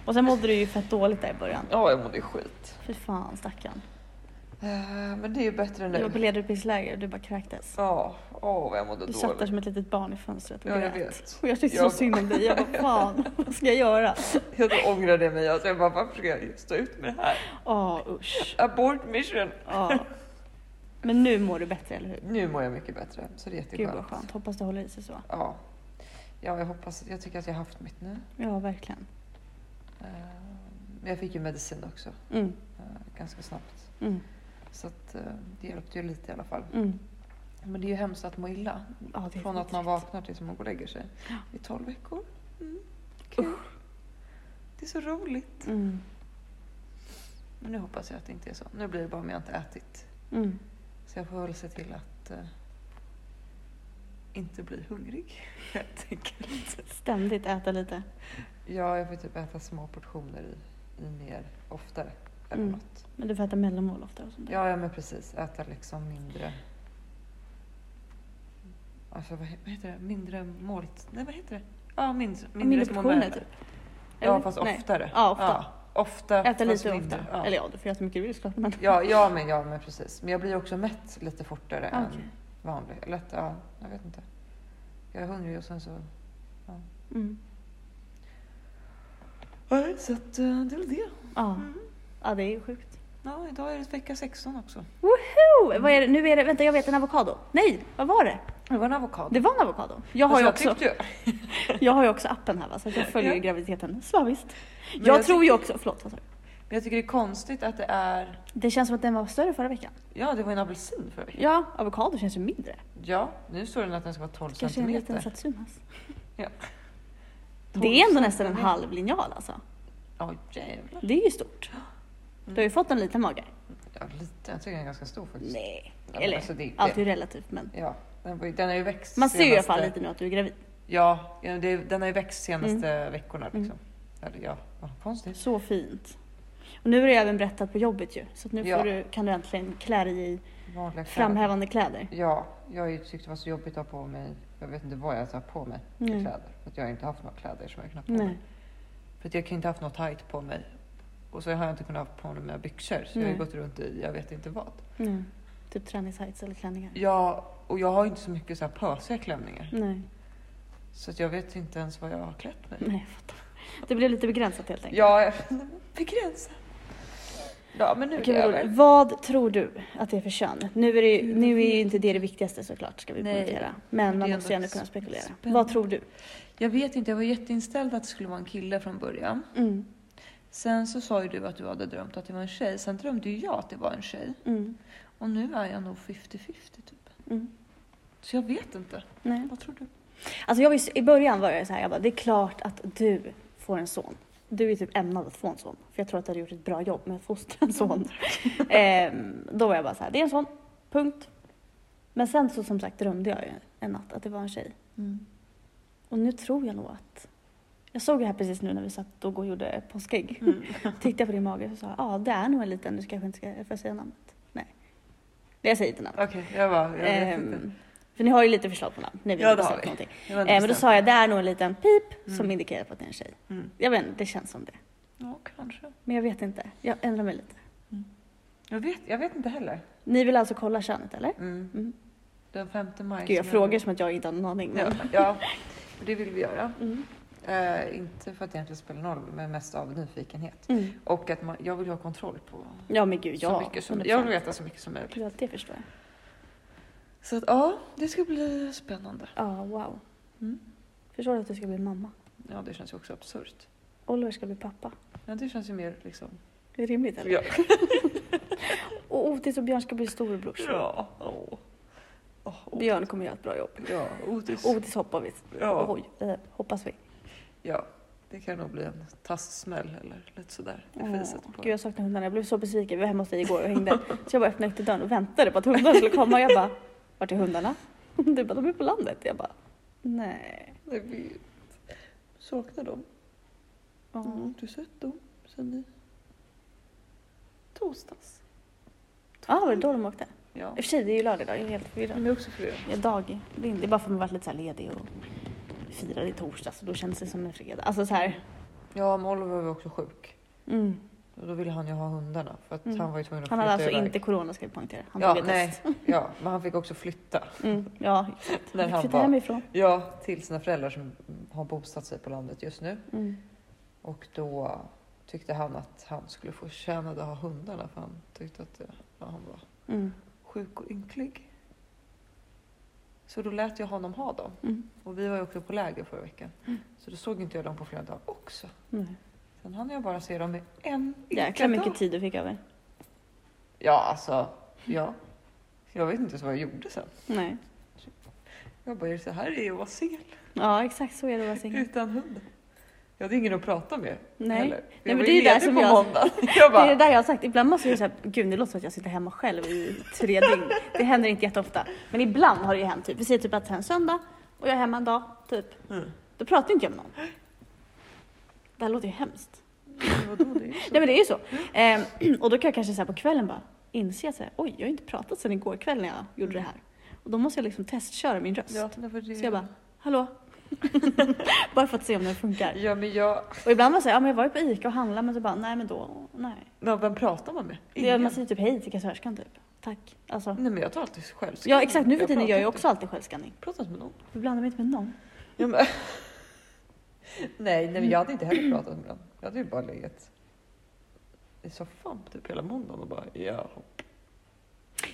[SPEAKER 2] Och sen mådde du ju fett dåligt där i början.
[SPEAKER 1] Ja, jag mådde ju skit.
[SPEAKER 2] Fy fan stackarn.
[SPEAKER 1] Eh, Men det är ju bättre
[SPEAKER 2] Du var på
[SPEAKER 1] nu.
[SPEAKER 2] ledarutbildningsläger och du bara kräktes.
[SPEAKER 1] Ja, åh vad jag mådde
[SPEAKER 2] Du satt där
[SPEAKER 1] dåligt.
[SPEAKER 2] som ett litet barn i fönstret och
[SPEAKER 1] Ja, jag
[SPEAKER 2] grät.
[SPEAKER 1] vet.
[SPEAKER 2] Och jag tyckte
[SPEAKER 1] Jag
[SPEAKER 2] så synd om dig. Jag bara, fan, vad ska jag göra?
[SPEAKER 1] Jag ångrade mig. Alltså, jag bara, varför ska jag stå ut med det här?
[SPEAKER 2] Ja, usch.
[SPEAKER 1] Abort mission.
[SPEAKER 2] Ja. Men nu mår du bättre, eller hur?
[SPEAKER 1] Nu mår jag mycket bättre, så Mm, det är
[SPEAKER 2] Gud vad
[SPEAKER 1] jätteskönt.
[SPEAKER 2] skönt. Hoppas det håller i sig så.
[SPEAKER 1] Ja. ja, jag hoppas. Jag tycker att jag har haft mitt nu.
[SPEAKER 2] Ja, verkligen.
[SPEAKER 1] Eh, Men jag fick ju medicin också,
[SPEAKER 2] Mm,
[SPEAKER 1] eh, ganska snabbt.
[SPEAKER 2] mm,
[SPEAKER 1] Så att, eh, det hjälpte ju lite i alla fall.
[SPEAKER 2] mm.
[SPEAKER 1] Men det är ju hemskt att må illa.
[SPEAKER 2] Ja, det är
[SPEAKER 1] Från att man
[SPEAKER 2] skittråkigt.
[SPEAKER 1] vaknar tills man går och lägger sig. I 12 veckor. Mm. Kul. Det är så roligt.
[SPEAKER 2] Mm,
[SPEAKER 1] Men nu hoppas jag att det inte är så. Nu blir det bara om jag inte ätit.
[SPEAKER 2] mm.
[SPEAKER 1] Så jag får väl se till att eh, inte bli hungrig helt enkelt.
[SPEAKER 2] Ständigt äta lite.
[SPEAKER 1] Ja, jag får typ äta små portioner i, i mer oftare. Eller
[SPEAKER 2] Mm.
[SPEAKER 1] något.
[SPEAKER 2] Men du får äta mellanmål ofta och sånt där.
[SPEAKER 1] Ja, ja, men precis. Äta liksom mindre... Alltså, vad, he- vad heter det? Mindre mål... Nej, vad heter det? Ja, mindre, mindre,
[SPEAKER 2] mindre
[SPEAKER 1] små
[SPEAKER 2] portioner
[SPEAKER 1] mängder.
[SPEAKER 2] typ.
[SPEAKER 1] Ja,
[SPEAKER 2] Eller?
[SPEAKER 1] fast
[SPEAKER 2] Nej.
[SPEAKER 1] oftare.
[SPEAKER 2] Ja, ofta.
[SPEAKER 1] ofta
[SPEAKER 2] Äta
[SPEAKER 1] fast
[SPEAKER 2] lite
[SPEAKER 1] mindre.
[SPEAKER 2] ofta.
[SPEAKER 1] Ja.
[SPEAKER 2] Eller ja, du får äta mycket du vill såklart. Men...
[SPEAKER 1] Ja, ja, men, ja, men precis. Men jag blir också mätt lite fortare
[SPEAKER 2] Ah,
[SPEAKER 1] än
[SPEAKER 2] okej.
[SPEAKER 1] vanligt. Eller att, ja, jag vet inte. Jag är hungrig och sen så...
[SPEAKER 2] Mm.
[SPEAKER 1] Nej, så att eh, det är väl det.
[SPEAKER 2] Ja. ja, det är ju sjukt.
[SPEAKER 1] Ja, idag är det vecka 16 också.
[SPEAKER 2] Woho! Vad är det? Nu är det, vänta jag vet en avokado. Nej, vad var det?
[SPEAKER 1] Det var en avokado.
[SPEAKER 2] Det var en avokado. Jag har,
[SPEAKER 1] Alltså,
[SPEAKER 2] ju, också,
[SPEAKER 1] tyckte ju-
[SPEAKER 2] jag har ju också appen här va, så att jag följer
[SPEAKER 1] Ja.
[SPEAKER 2] ju graviditeten slaviskt.
[SPEAKER 1] Men
[SPEAKER 2] Jag,
[SPEAKER 1] jag
[SPEAKER 2] tror ju också, förlåt vad sa du?
[SPEAKER 1] Men jag tycker det är konstigt att det är...
[SPEAKER 2] Det känns som att den var större förra veckan.
[SPEAKER 1] Ja, det var en apelsin förra veckan.
[SPEAKER 2] Ja, avokado känns ju mindre.
[SPEAKER 1] Ja, nu står det att den ska vara 12
[SPEAKER 2] Kanske en
[SPEAKER 1] centimeter.
[SPEAKER 2] liten satsumas.
[SPEAKER 1] Ja.
[SPEAKER 2] Det är ändå nästan en
[SPEAKER 1] centimeter.
[SPEAKER 2] halv linjal alltså.
[SPEAKER 1] Ja, jävlar.
[SPEAKER 2] Det är ju stort. Du har ju fått en liten mage.
[SPEAKER 1] Ja, lite. Jag tycker den är ganska stor faktiskt.
[SPEAKER 2] Nej,
[SPEAKER 1] Ja, men
[SPEAKER 2] eller
[SPEAKER 1] alltså, det- det-
[SPEAKER 2] allt är ju relativt men.
[SPEAKER 1] Ja, den, var ju- den har ju växt
[SPEAKER 2] Man ser ju i alla
[SPEAKER 1] senaste-
[SPEAKER 2] fall lite nu att du är gravid.
[SPEAKER 1] Ja, ja, det, den har ju växt senaste
[SPEAKER 2] Mm.
[SPEAKER 1] veckorna liksom. Eller ja, ja, konstigt.
[SPEAKER 2] Så fint. Och nu har du även berättat på jobbet ju, så att nu
[SPEAKER 1] Ja.
[SPEAKER 2] får du, kan du äntligen klä dig i
[SPEAKER 1] Vanliga kläder.
[SPEAKER 2] framhävande kläder.
[SPEAKER 1] Ja, jag har ju tyckt det var så jobbigt att ha på mig. Jag vet inte vad jag ens har på mig
[SPEAKER 2] Nej.
[SPEAKER 1] för kläder. För att jag har inte haft några kläder som jag knappt på
[SPEAKER 2] Mm. Nej.
[SPEAKER 1] mig. För att jag kan ju inte haft något tight på mig. Och så har jag inte kunnat ha på mig mina byxor. Så jag har ju
[SPEAKER 2] Nej.
[SPEAKER 1] gått runt i jag vet inte vad.
[SPEAKER 2] Nej. Typ träningstights eller klänningar.
[SPEAKER 1] Ja, och jag har ju inte så mycket så här pösiga klänningar.
[SPEAKER 2] Nej.
[SPEAKER 1] Så att jag vet inte ens vad jag har klätt mig.
[SPEAKER 2] Nej, jag fattar. Det blev lite begränsat helt enkelt.
[SPEAKER 1] Ja, jag begränsar. Ja, men nu
[SPEAKER 2] Okej,
[SPEAKER 1] är
[SPEAKER 2] vad,
[SPEAKER 1] jag
[SPEAKER 2] roligt.
[SPEAKER 1] väl.
[SPEAKER 2] vad tror du att det är för kön? Nu är, det ju, nu är ju inte det det viktigaste såklart, ska vi
[SPEAKER 1] Nej.
[SPEAKER 2] poängtera. Men man
[SPEAKER 1] Det är
[SPEAKER 2] måste ju ändå
[SPEAKER 1] ändå
[SPEAKER 2] kunna spekulera.
[SPEAKER 1] spännande.
[SPEAKER 2] Vad tror du?
[SPEAKER 1] Jag vet inte, jag var jätteinställd att det skulle vara en kille från början.
[SPEAKER 2] Mm.
[SPEAKER 1] Sen så sa ju du att du hade drömt att det var en tjej. Sen drömde ju jag att det var en tjej.
[SPEAKER 2] Mm.
[SPEAKER 1] Och nu är jag nog 50-50 typ.
[SPEAKER 2] Mm.
[SPEAKER 1] Så jag vet inte.
[SPEAKER 2] Nej.
[SPEAKER 1] Vad tror du?
[SPEAKER 2] Alltså jag visste, i början var jag så här, jag bara, det är klart att du får en son. Du är typ ämnad att få en son. För jag tror att du hade gjort ett bra jobb med att fostra en son. Ehm, då var jag bara så här, det är en son, punkt. Men sen så som sagt drömde jag ju en natt att det var en tjej. Och nu tror jag nog att... Jag såg det här precis nu när vi satt och gjorde påskägg.
[SPEAKER 1] Mm.
[SPEAKER 2] Tittade jag på din mage och sa, ja ah, det är nog en liten, du kanske inte ska, får jag säga namnet? Nej. Nej, jag säger inte namnet.
[SPEAKER 1] Okej, jag bara, jag vet inte.
[SPEAKER 2] Ehm, för ni har ju lite förslag på namn. Ni vill
[SPEAKER 1] Ja,
[SPEAKER 2] inte
[SPEAKER 1] det har
[SPEAKER 2] säga
[SPEAKER 1] vi.
[SPEAKER 2] någonting.
[SPEAKER 1] Jag var inte
[SPEAKER 2] Eh, men då
[SPEAKER 1] bestämd.
[SPEAKER 2] sa jag, det är nog en liten pip som
[SPEAKER 1] Mm.
[SPEAKER 2] indikerar på att det är en tjej.
[SPEAKER 1] Mm.
[SPEAKER 2] Jag vet inte, det känns som det.
[SPEAKER 1] Ja, kanske.
[SPEAKER 2] Men jag vet inte, jag ändrar mig lite.
[SPEAKER 1] Jag vet, jag vet inte heller.
[SPEAKER 2] Ni vill alltså kolla könet eller?
[SPEAKER 1] Mm.
[SPEAKER 2] Mm.
[SPEAKER 1] Den 5 maj.
[SPEAKER 2] Gud, jag
[SPEAKER 1] så-
[SPEAKER 2] frågar som att jag inte har någon aning. Men...
[SPEAKER 1] Ja, ja, det vill vi göra.
[SPEAKER 2] Mm.
[SPEAKER 1] Eh, inte för att det egentligen spelar någon roll, men mest av nyfikenhet.
[SPEAKER 2] Mm.
[SPEAKER 1] Och att man, jag vill ju ha kontroll på
[SPEAKER 2] ja, men gud, ja.
[SPEAKER 1] så mycket som,
[SPEAKER 2] 100%.
[SPEAKER 1] jag vill veta så mycket som möjligt.
[SPEAKER 2] Ja, det förstår jag.
[SPEAKER 1] Så att, ja, det ska bli spännande.
[SPEAKER 2] Ja, wow.
[SPEAKER 1] Mm.
[SPEAKER 2] Förstår du att du ska bli mamma?
[SPEAKER 1] Ja, det känns ju också absurt.
[SPEAKER 2] Oliver ska bli pappa.
[SPEAKER 1] Ja, det känns ju mer liksom...
[SPEAKER 2] Det är rimligt eller?
[SPEAKER 1] Ja.
[SPEAKER 2] Och oh, Otis och Björn ska bli storebrors.
[SPEAKER 1] Ja. Åh. Åh, Otis.
[SPEAKER 2] Björn kommer göra ett bra jobb.
[SPEAKER 1] Ja, Otis.
[SPEAKER 2] Otis hoppar vi.
[SPEAKER 1] Ja.
[SPEAKER 2] Oj, eh, hoppas vi.
[SPEAKER 1] ja, det kan nog bli en tastsmäll eller lite sådär. Det
[SPEAKER 2] Åh,
[SPEAKER 1] fiset på
[SPEAKER 2] Eh, Gud jag saknar hundarna. Jag blev så besviken. Vi var hemma hos dig igår och hängde. Så jag bara öppnade ytterdörren och väntade på att hundarna skulle komma. Jag bara, vart är hundarna? Du bara, de är på landet. Jag bara, nej.
[SPEAKER 1] Nej, vi saknar dem.
[SPEAKER 2] Ja.
[SPEAKER 1] Mm. Har du sett dem sen i torsdags?
[SPEAKER 2] Ah, var det då de åkte? I
[SPEAKER 1] Ja.
[SPEAKER 2] och för sig, det är ju lördag idag. Jag är helt förvirrad.
[SPEAKER 1] De är också förvirrade.
[SPEAKER 2] Ja, dag. Det är bara för att man varit lite så här ledig och firade i torsdags och då kändes det som en fredag. Alltså så här.
[SPEAKER 1] Ja, men Oliver var också sjuk.
[SPEAKER 2] Mm.
[SPEAKER 1] Och då ville han ju ha hundarna för att
[SPEAKER 2] Mm.
[SPEAKER 1] han var ju tvungen att
[SPEAKER 2] Han hade
[SPEAKER 1] flytta
[SPEAKER 2] alltså
[SPEAKER 1] iväg.
[SPEAKER 2] inte corona ska vi poängtera. Han
[SPEAKER 1] ja,
[SPEAKER 2] tog ett
[SPEAKER 1] nej.
[SPEAKER 2] test.
[SPEAKER 1] ja, men han fick också flytta.
[SPEAKER 2] Mm, ja, exakt.
[SPEAKER 1] När
[SPEAKER 2] Han
[SPEAKER 1] han
[SPEAKER 2] fick flytta
[SPEAKER 1] var-
[SPEAKER 2] hemifrån.
[SPEAKER 1] Ja, till sina föräldrar som har bosatt sig på landet just nu.
[SPEAKER 2] Mm.
[SPEAKER 1] Och då tyckte han att han skulle få tjäna att ha hundarna för han tyckte att det, ja, han var
[SPEAKER 2] Mm.
[SPEAKER 1] sjuk och ynklig. Så då lät jag honom ha dem.
[SPEAKER 2] Mm.
[SPEAKER 1] Och vi var ju också på läger förra veckan. Så då såg inte jag dem på flera dagar också.
[SPEAKER 2] Nej.
[SPEAKER 1] Sen hann jag bara se dem i en
[SPEAKER 2] Jäklar
[SPEAKER 1] dag.
[SPEAKER 2] mycket tid du fick över.
[SPEAKER 1] Ja, alltså. Ja. Jag vet inte ens vad jag gjorde sen.
[SPEAKER 2] Nej.
[SPEAKER 1] Jag bara, är det så här det är att vara singel
[SPEAKER 2] Ja, exakt så är det att vara singel.
[SPEAKER 1] utan hund? Jag hade ingen att prata med
[SPEAKER 2] Nej.
[SPEAKER 1] heller.
[SPEAKER 2] Nej,
[SPEAKER 1] Jag
[SPEAKER 2] men
[SPEAKER 1] var
[SPEAKER 2] det är
[SPEAKER 1] ju
[SPEAKER 2] där
[SPEAKER 1] ledig
[SPEAKER 2] som
[SPEAKER 1] på
[SPEAKER 2] jag-
[SPEAKER 1] måndag. Jag
[SPEAKER 2] Det är det
[SPEAKER 1] bara,
[SPEAKER 2] där jag har sagt, ibland måste jag säga gud det låter som att jag sitter hemma själv i tre dygn. Det händer inte jätteofta. Men ibland har det ju hänt, typ. vi säger typ att det är en söndag och jag är hemma en dag, typ.
[SPEAKER 1] Mm.
[SPEAKER 2] Då pratar ju inte jag med någon. Det här låter ju hemskt.
[SPEAKER 1] "Men vadå, det är ju så."
[SPEAKER 2] Nej men det är ju så. Ehm, och då kan jag kanske säga på kvällen bara inse att så här, oj jag har inte pratat sedan igår kväll när jag gjorde det här. Och då måste jag liksom testköra min röst.
[SPEAKER 1] Ja, nej, för det...
[SPEAKER 2] Så jag bara, hallå? bara för att se om den funkar.
[SPEAKER 1] Ja, men jag...
[SPEAKER 2] Och ibland man säger, ja men jag var ju på ICA och handlade men så bara, nej men då, nej.
[SPEAKER 1] Ja, vem pratar man med?
[SPEAKER 2] Det är,
[SPEAKER 1] Ingen.
[SPEAKER 2] man säger typ hej till kassörskan typ. Tack. Alltså.
[SPEAKER 1] Nej, men jag tar alltid själv.
[SPEAKER 2] Ja exakt, nu för tiden
[SPEAKER 1] pratar
[SPEAKER 2] gör jag
[SPEAKER 1] inte.
[SPEAKER 2] också alltid självskanning.
[SPEAKER 1] Pratar inte med någon.
[SPEAKER 2] Jag blandar mig inte med någon.
[SPEAKER 1] Ja, men... nej, nej, men jag hade inte heller pratat med någon. Jag hade ju bara legat i soffan typ hela måndagen och bara ja.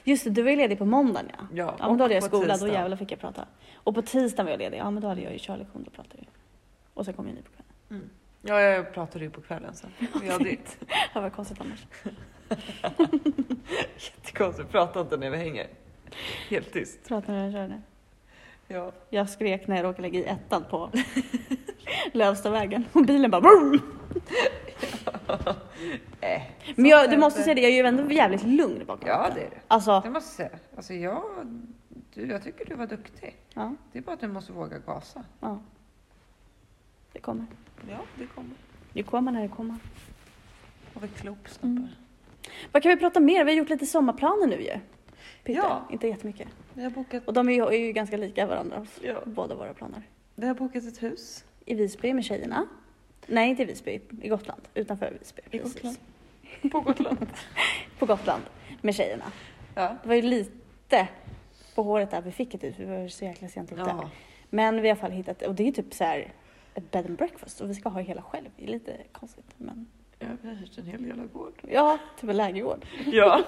[SPEAKER 2] Just det, du var ju ledig på måndagen ja.
[SPEAKER 1] Ja,
[SPEAKER 2] Ja men då
[SPEAKER 1] och
[SPEAKER 2] hade jag
[SPEAKER 1] på
[SPEAKER 2] skola, då
[SPEAKER 1] tisdagen.
[SPEAKER 2] jävlar fick jag prata. Och på tisdagen var jag ledig, ja men då hade jag ju körlektion, då pratade jag. Och sen kom jag ni på kvällen.
[SPEAKER 1] Ja, jag pratade ju på kvällen sen. Och Jag hade ju
[SPEAKER 2] Det var konstigt annars.
[SPEAKER 1] jättekonstigt, prata inte när vi hänger. Helt tyst.
[SPEAKER 2] Pratade när jag körde.
[SPEAKER 1] Ja.
[SPEAKER 2] Jag skrek när jag råkade lägga i ettan på Lövstavägen och bilen bara brum. Eh,
[SPEAKER 1] Äh,
[SPEAKER 2] Men jag, du
[SPEAKER 1] sånt
[SPEAKER 2] måste säga
[SPEAKER 1] händer.
[SPEAKER 2] det, jag är ju ändå jävligt lugn bakom
[SPEAKER 1] Ja,
[SPEAKER 2] ratten.
[SPEAKER 1] det är det.
[SPEAKER 2] Alltså,
[SPEAKER 1] Det måste jag säga. Alltså jag, du, jag tycker du var duktig.
[SPEAKER 2] ja,
[SPEAKER 1] Det är bara att du måste våga gasa.
[SPEAKER 2] ja. Det kommer.
[SPEAKER 1] Ja, det kommer.
[SPEAKER 2] Det kommer när det kommer.
[SPEAKER 1] Och vi klok snabbare.
[SPEAKER 2] Vad kan vi prata mer? Vi har gjort lite sommarplaner nu ju. Peter.
[SPEAKER 1] Ja.
[SPEAKER 2] Inte jättemycket.
[SPEAKER 1] Vi har bokat,
[SPEAKER 2] Och de är ju, är ju ganska lika varandra,
[SPEAKER 1] ja,
[SPEAKER 2] båda våra planer.
[SPEAKER 1] vi har bokat ett hus.
[SPEAKER 2] I Visby med tjejerna. Nej, inte i Visby, i Gotland. Utanför Visby. precis.
[SPEAKER 1] Gotland. På Gotland.
[SPEAKER 2] På Gotland med tjejerna.
[SPEAKER 1] ja.
[SPEAKER 2] Det var ju lite på håret där vi fick ett hus, vi var ju så jäkla sent ute.
[SPEAKER 1] ja.
[SPEAKER 2] Men vi har i alla fall hittat, och det är ju typ så här ett bed and breakfast och vi ska ha hela själv. Det är lite konstigt men
[SPEAKER 1] Ja, vi har hyrt en hel jävla gård.
[SPEAKER 2] ja, typ en lägergård.
[SPEAKER 1] Ja.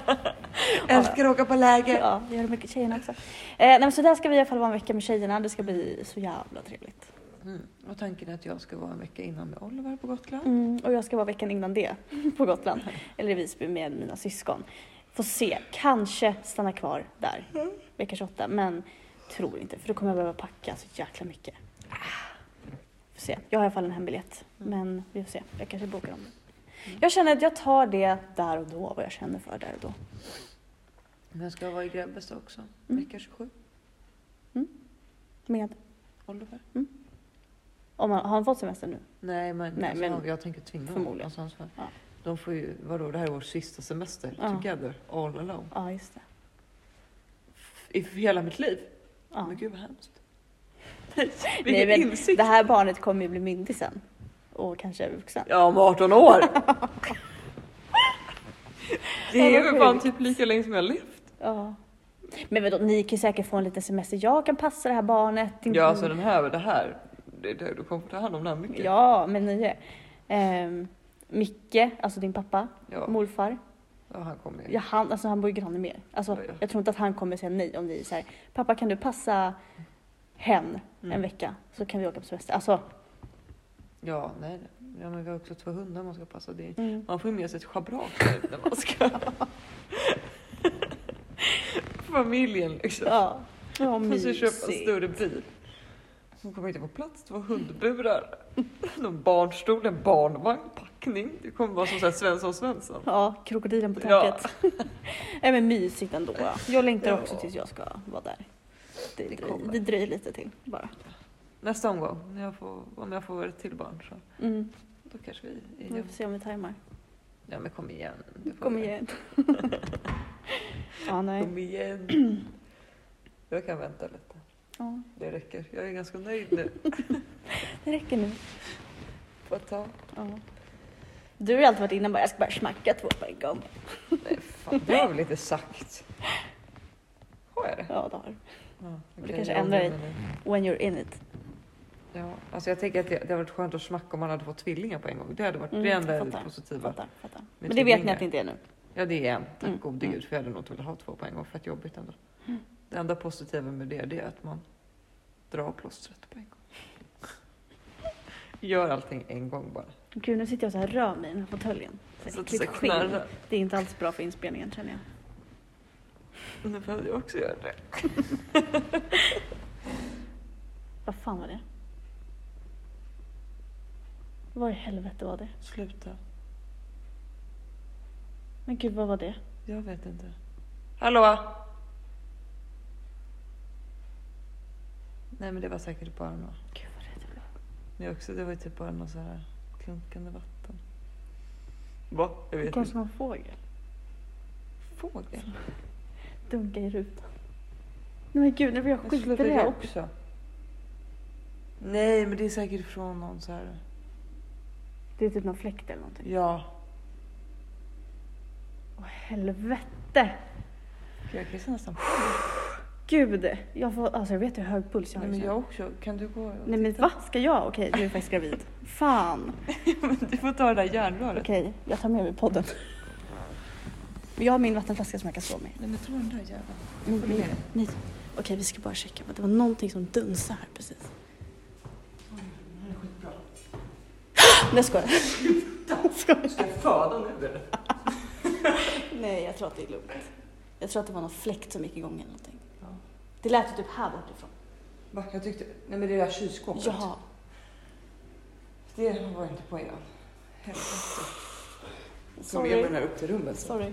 [SPEAKER 1] Älskar att åka på läger.
[SPEAKER 2] Ja, vi har mycket tjejerna också. Eh, nej men så där ska vi i alla fall vara en vecka med tjejerna, det ska bli så jävla trevligt.
[SPEAKER 1] Mm. Och tanken är att jag ska vara en vecka innan med Oliver på Gotland.
[SPEAKER 2] Mm, och jag ska vara veckan innan det på Gotland, eller i Visby med mina syskon. Får se, kanske stanna kvar där vecka 28, men tror inte för då kommer jag behöva packa så jäkla mycket. Får se. Jag har i alla fall en hembiljett, men vi får se. Jag kanske bokar om det. Jag känner att jag tar det där och då, vad jag känner för där och då.
[SPEAKER 1] Men jag ska vara i Grebbestad också.
[SPEAKER 2] Mm.
[SPEAKER 1] Vecka 27.
[SPEAKER 2] Med,
[SPEAKER 1] Oliver.
[SPEAKER 2] om man, har han fått semester nu?
[SPEAKER 1] Nej, men,
[SPEAKER 2] Nej,
[SPEAKER 1] alltså,
[SPEAKER 2] men-
[SPEAKER 1] jag tänker tvinga honom.
[SPEAKER 2] förmodligen.
[SPEAKER 1] Alltså, han sa,
[SPEAKER 2] Ja.
[SPEAKER 1] De får ju, vadå, det här är vår sista semester
[SPEAKER 2] Ja.
[SPEAKER 1] together, all alone.
[SPEAKER 2] Ja, just det.
[SPEAKER 1] I för hela mitt liv.
[SPEAKER 2] Ja.
[SPEAKER 1] Men gud vad hemskt.
[SPEAKER 2] Nej,
[SPEAKER 1] Vilken
[SPEAKER 2] men
[SPEAKER 1] insikt.
[SPEAKER 2] det här barnet kommer ju bli myndig sen och kanske vuxen.
[SPEAKER 1] Ja, om 18 år. det
[SPEAKER 2] Ja,
[SPEAKER 1] är
[SPEAKER 2] vad
[SPEAKER 1] ju fan
[SPEAKER 2] sjukt.
[SPEAKER 1] typ lika länge som jag har levt.
[SPEAKER 2] Ja. Men vadå, ni kan ju säkert få en liten semester. Jag kan passa det här barnet. Din-
[SPEAKER 1] Ja, alltså den här, det här. Det, det, du kommer få ta hand om den här mycket.
[SPEAKER 2] ja men ni är. Ehm, Micke, alltså din pappa,
[SPEAKER 1] ja.
[SPEAKER 2] morfar.
[SPEAKER 1] ja han kommer ju.
[SPEAKER 2] Ja, han, alltså han bor ju granne med er. alltså,
[SPEAKER 1] Ja, ja.
[SPEAKER 2] Jag tror inte att han kommer säga nej om ni säger pappa kan du passa hen en
[SPEAKER 1] Mm.
[SPEAKER 2] vecka så kan vi åka på semester. Alltså,
[SPEAKER 1] Ja, nej. nej. Ja, men vi har också två hundar man ska passa. Det är...
[SPEAKER 2] mm.
[SPEAKER 1] Man får ju med sig ett schabrak där när man ska... Familjen liksom.
[SPEAKER 2] ja. Ja,
[SPEAKER 1] Man måste köpa en
[SPEAKER 2] mysigt.
[SPEAKER 1] större bil. Hon kommer inte få plats, två hundburar. Någon barnstol, en barnvagn, packning. Det kommer vara som så här Svensson Svensson.
[SPEAKER 2] Ja, krokodilen på
[SPEAKER 1] Ja.
[SPEAKER 2] taket. Nej men mysigt ändå. Jag längtar
[SPEAKER 1] Ja.
[SPEAKER 2] också tills jag ska vara där. Det,
[SPEAKER 1] Det
[SPEAKER 2] det,
[SPEAKER 1] kommer.
[SPEAKER 2] det dröjer lite till bara.
[SPEAKER 1] Nästa omgång, när jag får, om jag får ett till barn så
[SPEAKER 2] Mm.
[SPEAKER 1] då kanske vi...
[SPEAKER 2] Vi får se om vi tajmar.
[SPEAKER 1] Ja men kom igen. Du får
[SPEAKER 2] Mm.
[SPEAKER 1] Mm.
[SPEAKER 2] Kom
[SPEAKER 1] det.
[SPEAKER 2] igen. ja, nej.
[SPEAKER 1] Kom igen. Jag kan vänta lite.
[SPEAKER 2] Ja,
[SPEAKER 1] Det räcker. Jag är ganska nöjd nu.
[SPEAKER 2] det räcker nu.
[SPEAKER 1] Får jag ta?
[SPEAKER 2] Ja. Du har ju alltid varit inne och bara, jag ska bara smacka två på en gång.
[SPEAKER 1] Nej fan, det har jag väl inte sagt. Har jag det?
[SPEAKER 2] Ja, det har du.
[SPEAKER 1] Ja,
[SPEAKER 2] Du
[SPEAKER 1] okej,
[SPEAKER 2] kanske
[SPEAKER 1] jag
[SPEAKER 2] ändrar
[SPEAKER 1] ångrar
[SPEAKER 2] dig.
[SPEAKER 1] mig nu.
[SPEAKER 2] When you're in it.
[SPEAKER 1] Ja, alltså jag tänker att det, det hade varit skönt att smacka om man hade fått tvillingar på en gång. Det hade varit
[SPEAKER 2] Mm,
[SPEAKER 1] det enda
[SPEAKER 2] fattar,
[SPEAKER 1] positiva.
[SPEAKER 2] Fattar, fattar.
[SPEAKER 1] Med
[SPEAKER 2] Men det vet ni
[SPEAKER 1] tvillingar.
[SPEAKER 2] att det inte är nu.
[SPEAKER 1] Ja, det är en. Tack
[SPEAKER 2] Mm,
[SPEAKER 1] gode
[SPEAKER 2] mm.
[SPEAKER 1] gud, för jag hade nog inte velat ha två på en gång. Fett jobbigt ändå. Det enda positiva med det, det är att man drar plåstret på en gång. Gör allting en gång bara.
[SPEAKER 2] Gud, nu sitter jag så här och rör mig i den här fåtöljen. Så
[SPEAKER 1] Så att det
[SPEAKER 2] äckligt
[SPEAKER 1] ska
[SPEAKER 2] skinn.
[SPEAKER 1] knarra.
[SPEAKER 2] Det är inte alls bra för inspelningen känner jag.
[SPEAKER 1] Nu behöver jag också göra det.
[SPEAKER 2] Vad fan var det? Vad i helvete var det?
[SPEAKER 1] Sluta.
[SPEAKER 2] Men gud, vad var det?
[SPEAKER 1] Jag vet inte. Hallå? Nej men det var säkert bara något.
[SPEAKER 2] Gud, vad rädd jag blev.
[SPEAKER 1] Men jag också, det var ju typ bara något så här klunkande vatten. Va? Jag
[SPEAKER 2] Det
[SPEAKER 1] vet
[SPEAKER 2] kom
[SPEAKER 1] inte.
[SPEAKER 2] som en fågel.
[SPEAKER 1] Fågel?
[SPEAKER 2] Dunka i rutan. Nej men gud, nu blir jag
[SPEAKER 1] Men sluta
[SPEAKER 2] skiträdd.
[SPEAKER 1] det också. Nej men det är säkert från någon så här.
[SPEAKER 2] Det är typ någon fläkt eller någonting.
[SPEAKER 1] Ja.
[SPEAKER 2] Åh helvete!
[SPEAKER 1] Gud, jag kissar nästan på
[SPEAKER 2] Gud! Jag, får, alltså, jag vet hur hög puls jag har
[SPEAKER 1] Nej men
[SPEAKER 2] just nu.
[SPEAKER 1] jag också. Kan du gå? och
[SPEAKER 2] Nej men
[SPEAKER 1] titta?
[SPEAKER 2] va? Ska jag? Okej, du är faktiskt gravid. Fan!
[SPEAKER 1] Men du får ta det där järnröret.
[SPEAKER 2] Okej, jag tar med mig podden. Men Jag har min vattenflaska som jag kan slå med.
[SPEAKER 1] Nej men ta den där jäveln.
[SPEAKER 2] Nej,
[SPEAKER 1] Får du med
[SPEAKER 2] nej,
[SPEAKER 1] dig?
[SPEAKER 2] nej. Okej, vi ska bara checka. Det var någonting som dunsade här precis. Nej, jag skojar. Jag skojar.
[SPEAKER 1] Ska jag föda nu eller?
[SPEAKER 2] Nej, jag tror att det är lugnt. Jag tror att det var någon fläkt som gick igång eller någonting.
[SPEAKER 1] Ja.
[SPEAKER 2] Det lät ju typ här bortifrån.
[SPEAKER 1] Va? Jag tyckte... Nej men det där kylskåpet.
[SPEAKER 2] Ja,
[SPEAKER 1] Det var inte på er. Helvete. Tog jag med den
[SPEAKER 2] sorry.
[SPEAKER 1] här upp till rummet så.
[SPEAKER 2] Sorry.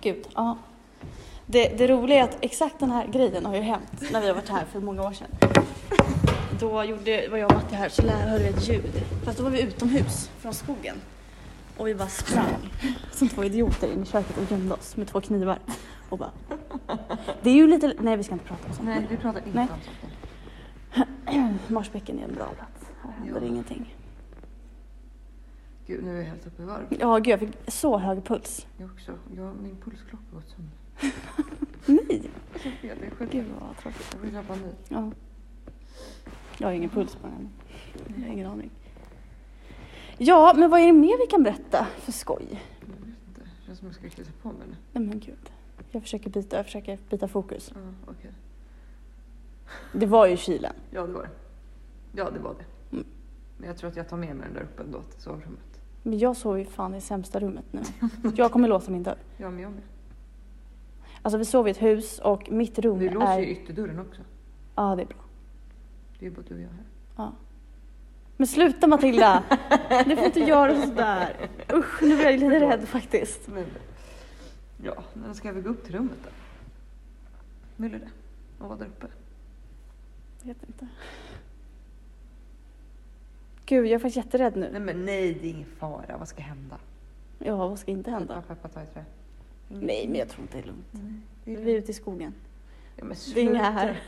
[SPEAKER 2] Gud, ja. Det, det roliga är att exakt den här grejen har ju hänt när vi har varit här för många år sedan. Då gjorde, var jag och Matti här så lä- hörde vi ett ljud. Fast då var vi utomhus från skogen. Och vi bara sprang som två idioter in i köket och gömde oss med två knivar. Och bara... Det är ju lite... Nej, vi ska inte prata om sånt.
[SPEAKER 1] Nej vi pratar inte
[SPEAKER 2] Nej.
[SPEAKER 1] om sånt.
[SPEAKER 2] Marsbäcken är en bra plats. Här händer
[SPEAKER 1] Ja.
[SPEAKER 2] ingenting.
[SPEAKER 1] Gud nu är jag helt uppe i varv.
[SPEAKER 2] Ja, gud jag fick så hög puls.
[SPEAKER 1] Jag också. Jag, min pulsklocka har gått sönder.
[SPEAKER 2] Nej!
[SPEAKER 1] Så fel, det är sjukt.
[SPEAKER 2] Gud vad tråkigt.
[SPEAKER 1] Jag vill grabba nu.
[SPEAKER 2] Ja. Jag har ingen puls på den. Jag har ingen aning. Ja, men vad är det mer vi kan berätta för skoj?
[SPEAKER 1] Jag vet inte. Det känns som jag ska kissa på mig nu.
[SPEAKER 2] Nej men gud. Jag försöker byta, jag försöker byta fokus.
[SPEAKER 1] Ja, okej.
[SPEAKER 2] Det var ju kylen.
[SPEAKER 1] Ja, det var det. Ja, det var det.
[SPEAKER 2] Mm.
[SPEAKER 1] Men jag tror att jag tar med mig den där uppe ändå till sovrummet.
[SPEAKER 2] Men jag sov ju fan i sämsta rummet nu. Jag kommer låsa min dörr.
[SPEAKER 1] Ja, men jag med.
[SPEAKER 2] Alltså vi sov i ett hus och mitt rum
[SPEAKER 1] Vi låser
[SPEAKER 2] är...
[SPEAKER 1] ju ytterdörren också.
[SPEAKER 2] Ja, det är bra.
[SPEAKER 1] Det är bara du och jag här.
[SPEAKER 2] Ja. Men sluta Matilda! Du får inte göra sådär. Usch, nu blir jag lite rädd faktiskt.
[SPEAKER 1] Men, ja, men ska vi gå upp till rummet då? Vill du det? Och vara där uppe?
[SPEAKER 2] Vet inte. Gud, jag är faktiskt jätterädd nu.
[SPEAKER 1] Nej, men nej, det är ingen fara. Vad ska hända?
[SPEAKER 2] Ja, vad ska inte hända?
[SPEAKER 1] Peppa, peppa, ta i trä. Inget-
[SPEAKER 2] Nej, men jag tror inte det är lugnt.
[SPEAKER 1] Det är-
[SPEAKER 2] Vi är ute i skogen.
[SPEAKER 1] Ja, men
[SPEAKER 2] Det är inga
[SPEAKER 1] sluta.
[SPEAKER 2] här.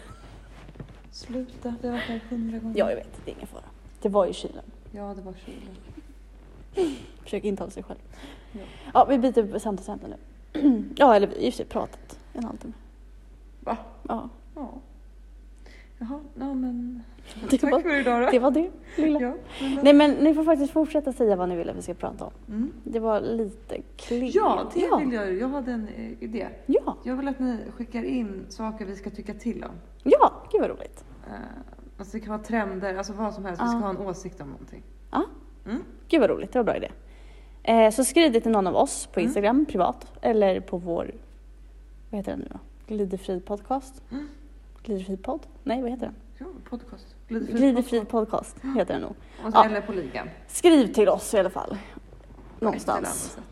[SPEAKER 1] Sluta, vi har varit här hundra gånger.
[SPEAKER 2] Ja, jag vet. Det är ingen fara. Det var ju kylen.
[SPEAKER 1] Ja, det var kylen.
[SPEAKER 2] Försök intala sig själv.
[SPEAKER 1] Ja.
[SPEAKER 2] Ja, vi byter samtalsämne nu. Ja, eller vi har i och för sig pratat en halvtimme.
[SPEAKER 1] Va?
[SPEAKER 2] Ja,
[SPEAKER 1] Ja. Jaha, ja men.
[SPEAKER 2] det
[SPEAKER 1] Tack
[SPEAKER 2] var
[SPEAKER 1] för idag då.
[SPEAKER 2] det, var det lilla.
[SPEAKER 1] Ja, men vad-
[SPEAKER 2] Nej, men ni får faktiskt fortsätta säga vad ni vill att vi ska prata om.
[SPEAKER 1] Mm.
[SPEAKER 2] Det var lite klent.
[SPEAKER 1] ja, det
[SPEAKER 2] ja.
[SPEAKER 1] vill jag ju. Jag hade en eh, idé.
[SPEAKER 2] Ja,
[SPEAKER 1] Jag vill att ni skickar in saker vi ska tycka till om.
[SPEAKER 2] ja, gud vad roligt.
[SPEAKER 1] Eh, alltså det kan vara trender, alltså vad som helst. Vi ska
[SPEAKER 2] Ja.
[SPEAKER 1] ha en åsikt om någonting.
[SPEAKER 2] Ja.
[SPEAKER 1] Mm.
[SPEAKER 2] Gud vad roligt, det var en bra idé. Eh, så skriv det till någon av oss på
[SPEAKER 1] Mm.
[SPEAKER 2] Instagram privat eller på vår, vad heter den nu då? Glidefri podcast?
[SPEAKER 1] Mm.
[SPEAKER 2] Glidefri podd? Nej, vad heter den?
[SPEAKER 1] Ja, podcast. Glidefri
[SPEAKER 2] Glidefri
[SPEAKER 1] podcast.
[SPEAKER 2] podcast heter den nog.
[SPEAKER 1] Och-
[SPEAKER 2] ja.
[SPEAKER 1] Eller på ligan.
[SPEAKER 2] Skriv till oss i alla fall.
[SPEAKER 1] På ett
[SPEAKER 2] Någonstans.
[SPEAKER 1] eller annat sätt.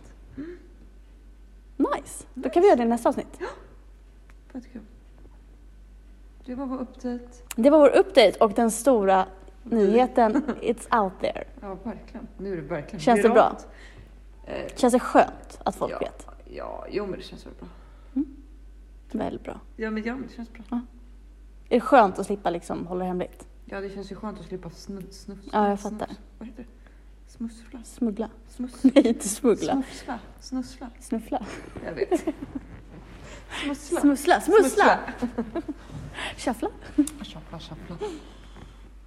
[SPEAKER 2] Nice! Då kan vi göra det i nästa avsnitt.
[SPEAKER 1] Vad kul. Det var vår update.
[SPEAKER 2] Det var vår update och den stora nyheten, it's out there.
[SPEAKER 1] Ja, verkligen. Nu är det verkligen
[SPEAKER 2] Känns det bra?
[SPEAKER 1] viralt. Eh,
[SPEAKER 2] Känns det skönt att folk
[SPEAKER 1] ja,
[SPEAKER 2] vet?
[SPEAKER 1] Ja, jo men det känns väl bra.
[SPEAKER 2] Väldigt bra.
[SPEAKER 1] Ja men, ja, men det känns bra.
[SPEAKER 2] Är det skönt att slippa liksom hålla det hemligt?
[SPEAKER 1] Ja, det känns ju skönt att slippa snu, snus.
[SPEAKER 2] Ja, jag
[SPEAKER 1] snus-
[SPEAKER 2] fattar.
[SPEAKER 1] Vad heter det? Smussla?
[SPEAKER 2] Smuggla?
[SPEAKER 1] Smuss?
[SPEAKER 2] Nej, inte smuggla.
[SPEAKER 1] Smussla? Snussla?
[SPEAKER 2] Snuffla?
[SPEAKER 1] Jag vet. Smussla?
[SPEAKER 2] Smussla, smussla! Shuffla.
[SPEAKER 1] Shuffla, shuffla.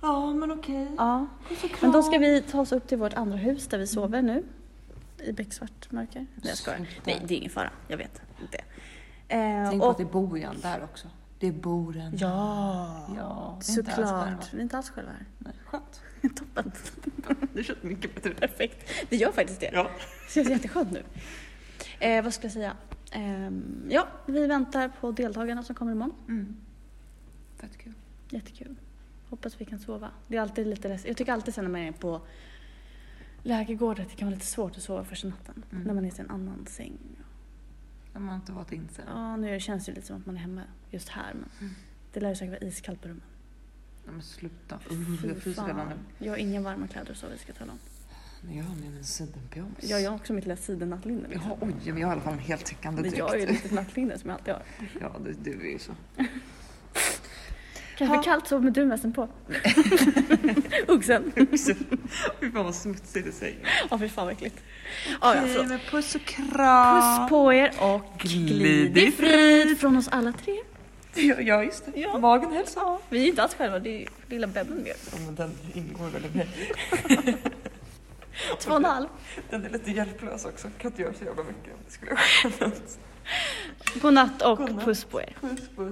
[SPEAKER 1] Ja, men okej.
[SPEAKER 2] Ja.
[SPEAKER 1] Puss och kram.
[SPEAKER 2] Men då ska vi ta oss upp till vårt andra hus där vi sover nu. I becksvart mörker. Nej jag skojar.
[SPEAKER 1] Sluta.
[SPEAKER 2] Nej det är ingen fara, jag vet. Inte. Eh,
[SPEAKER 1] Tänk på
[SPEAKER 2] och-
[SPEAKER 1] att det bor en där också. Det bor en.
[SPEAKER 2] Ja,
[SPEAKER 1] Ja, det är inte alls själva.
[SPEAKER 2] såklart. Vi är inte alls själva här.
[SPEAKER 1] Nej, skönt.
[SPEAKER 2] Toppen.
[SPEAKER 1] Det känns mycket bättre.
[SPEAKER 2] Perfekt. Det gör faktiskt det.
[SPEAKER 1] Ja.
[SPEAKER 2] Det känns jätteskönt nu. Eh, vad ska jag säga? Ehm, ja, vi väntar på deltagarna som kommer imorgon.
[SPEAKER 1] Mm. Fett kul.
[SPEAKER 2] Jättekul. Hoppas vi kan sova. Det är alltid lite läskigt. Jag tycker alltid sen när man är på lägergård att det kan vara lite svårt att sova första natten.
[SPEAKER 1] Mm.
[SPEAKER 2] När man är i sin annan säng.
[SPEAKER 1] När man inte varit inse.
[SPEAKER 2] Ja, nu känns det ju lite som att man är hemma just här men
[SPEAKER 1] Mm.
[SPEAKER 2] det lär ju säkert vara iskallt på rummen.
[SPEAKER 1] Nej men sluta. Uh, jag fryser
[SPEAKER 2] fan.
[SPEAKER 1] redan nu.
[SPEAKER 2] Jag har inga varma kläder så vi ska tala om.
[SPEAKER 1] Nej, Jag har med mig en sidenpyjamas.
[SPEAKER 2] Ja, jag har också mitt lilla sidennattlinne.
[SPEAKER 1] Jaha,
[SPEAKER 2] Liksom.
[SPEAKER 1] oj, men jag har i alla fall en heltäckande
[SPEAKER 2] Men
[SPEAKER 1] dräkt.
[SPEAKER 2] jag har ju ett litet nattlinne som jag alltid har.
[SPEAKER 1] Ja, du, du är ju så.
[SPEAKER 2] Kanske
[SPEAKER 1] Ja.
[SPEAKER 2] kallt så med dunvästen på. Uggsen.
[SPEAKER 1] Fy fan vad smutsigt det säger.
[SPEAKER 2] Ja, fy fan vad äckligt. Ja, ja, förlåt.
[SPEAKER 1] men puss och kram.
[SPEAKER 2] Puss på er och glid i frid från oss alla tre.
[SPEAKER 1] Ja, ja just det.
[SPEAKER 2] Ja.
[SPEAKER 1] Magen hälsar. Ja.
[SPEAKER 2] Vi är inte alls själva, det är ju lilla bebben vi gör.
[SPEAKER 1] men den ingår väl i mig.
[SPEAKER 2] Två och en halv.
[SPEAKER 1] Den är lite hjälplös också. Kan inte göra så jävla mycket. Det skulle jag
[SPEAKER 2] Godnatt och
[SPEAKER 1] Godnatt.
[SPEAKER 2] puss på er.
[SPEAKER 1] Puss puss.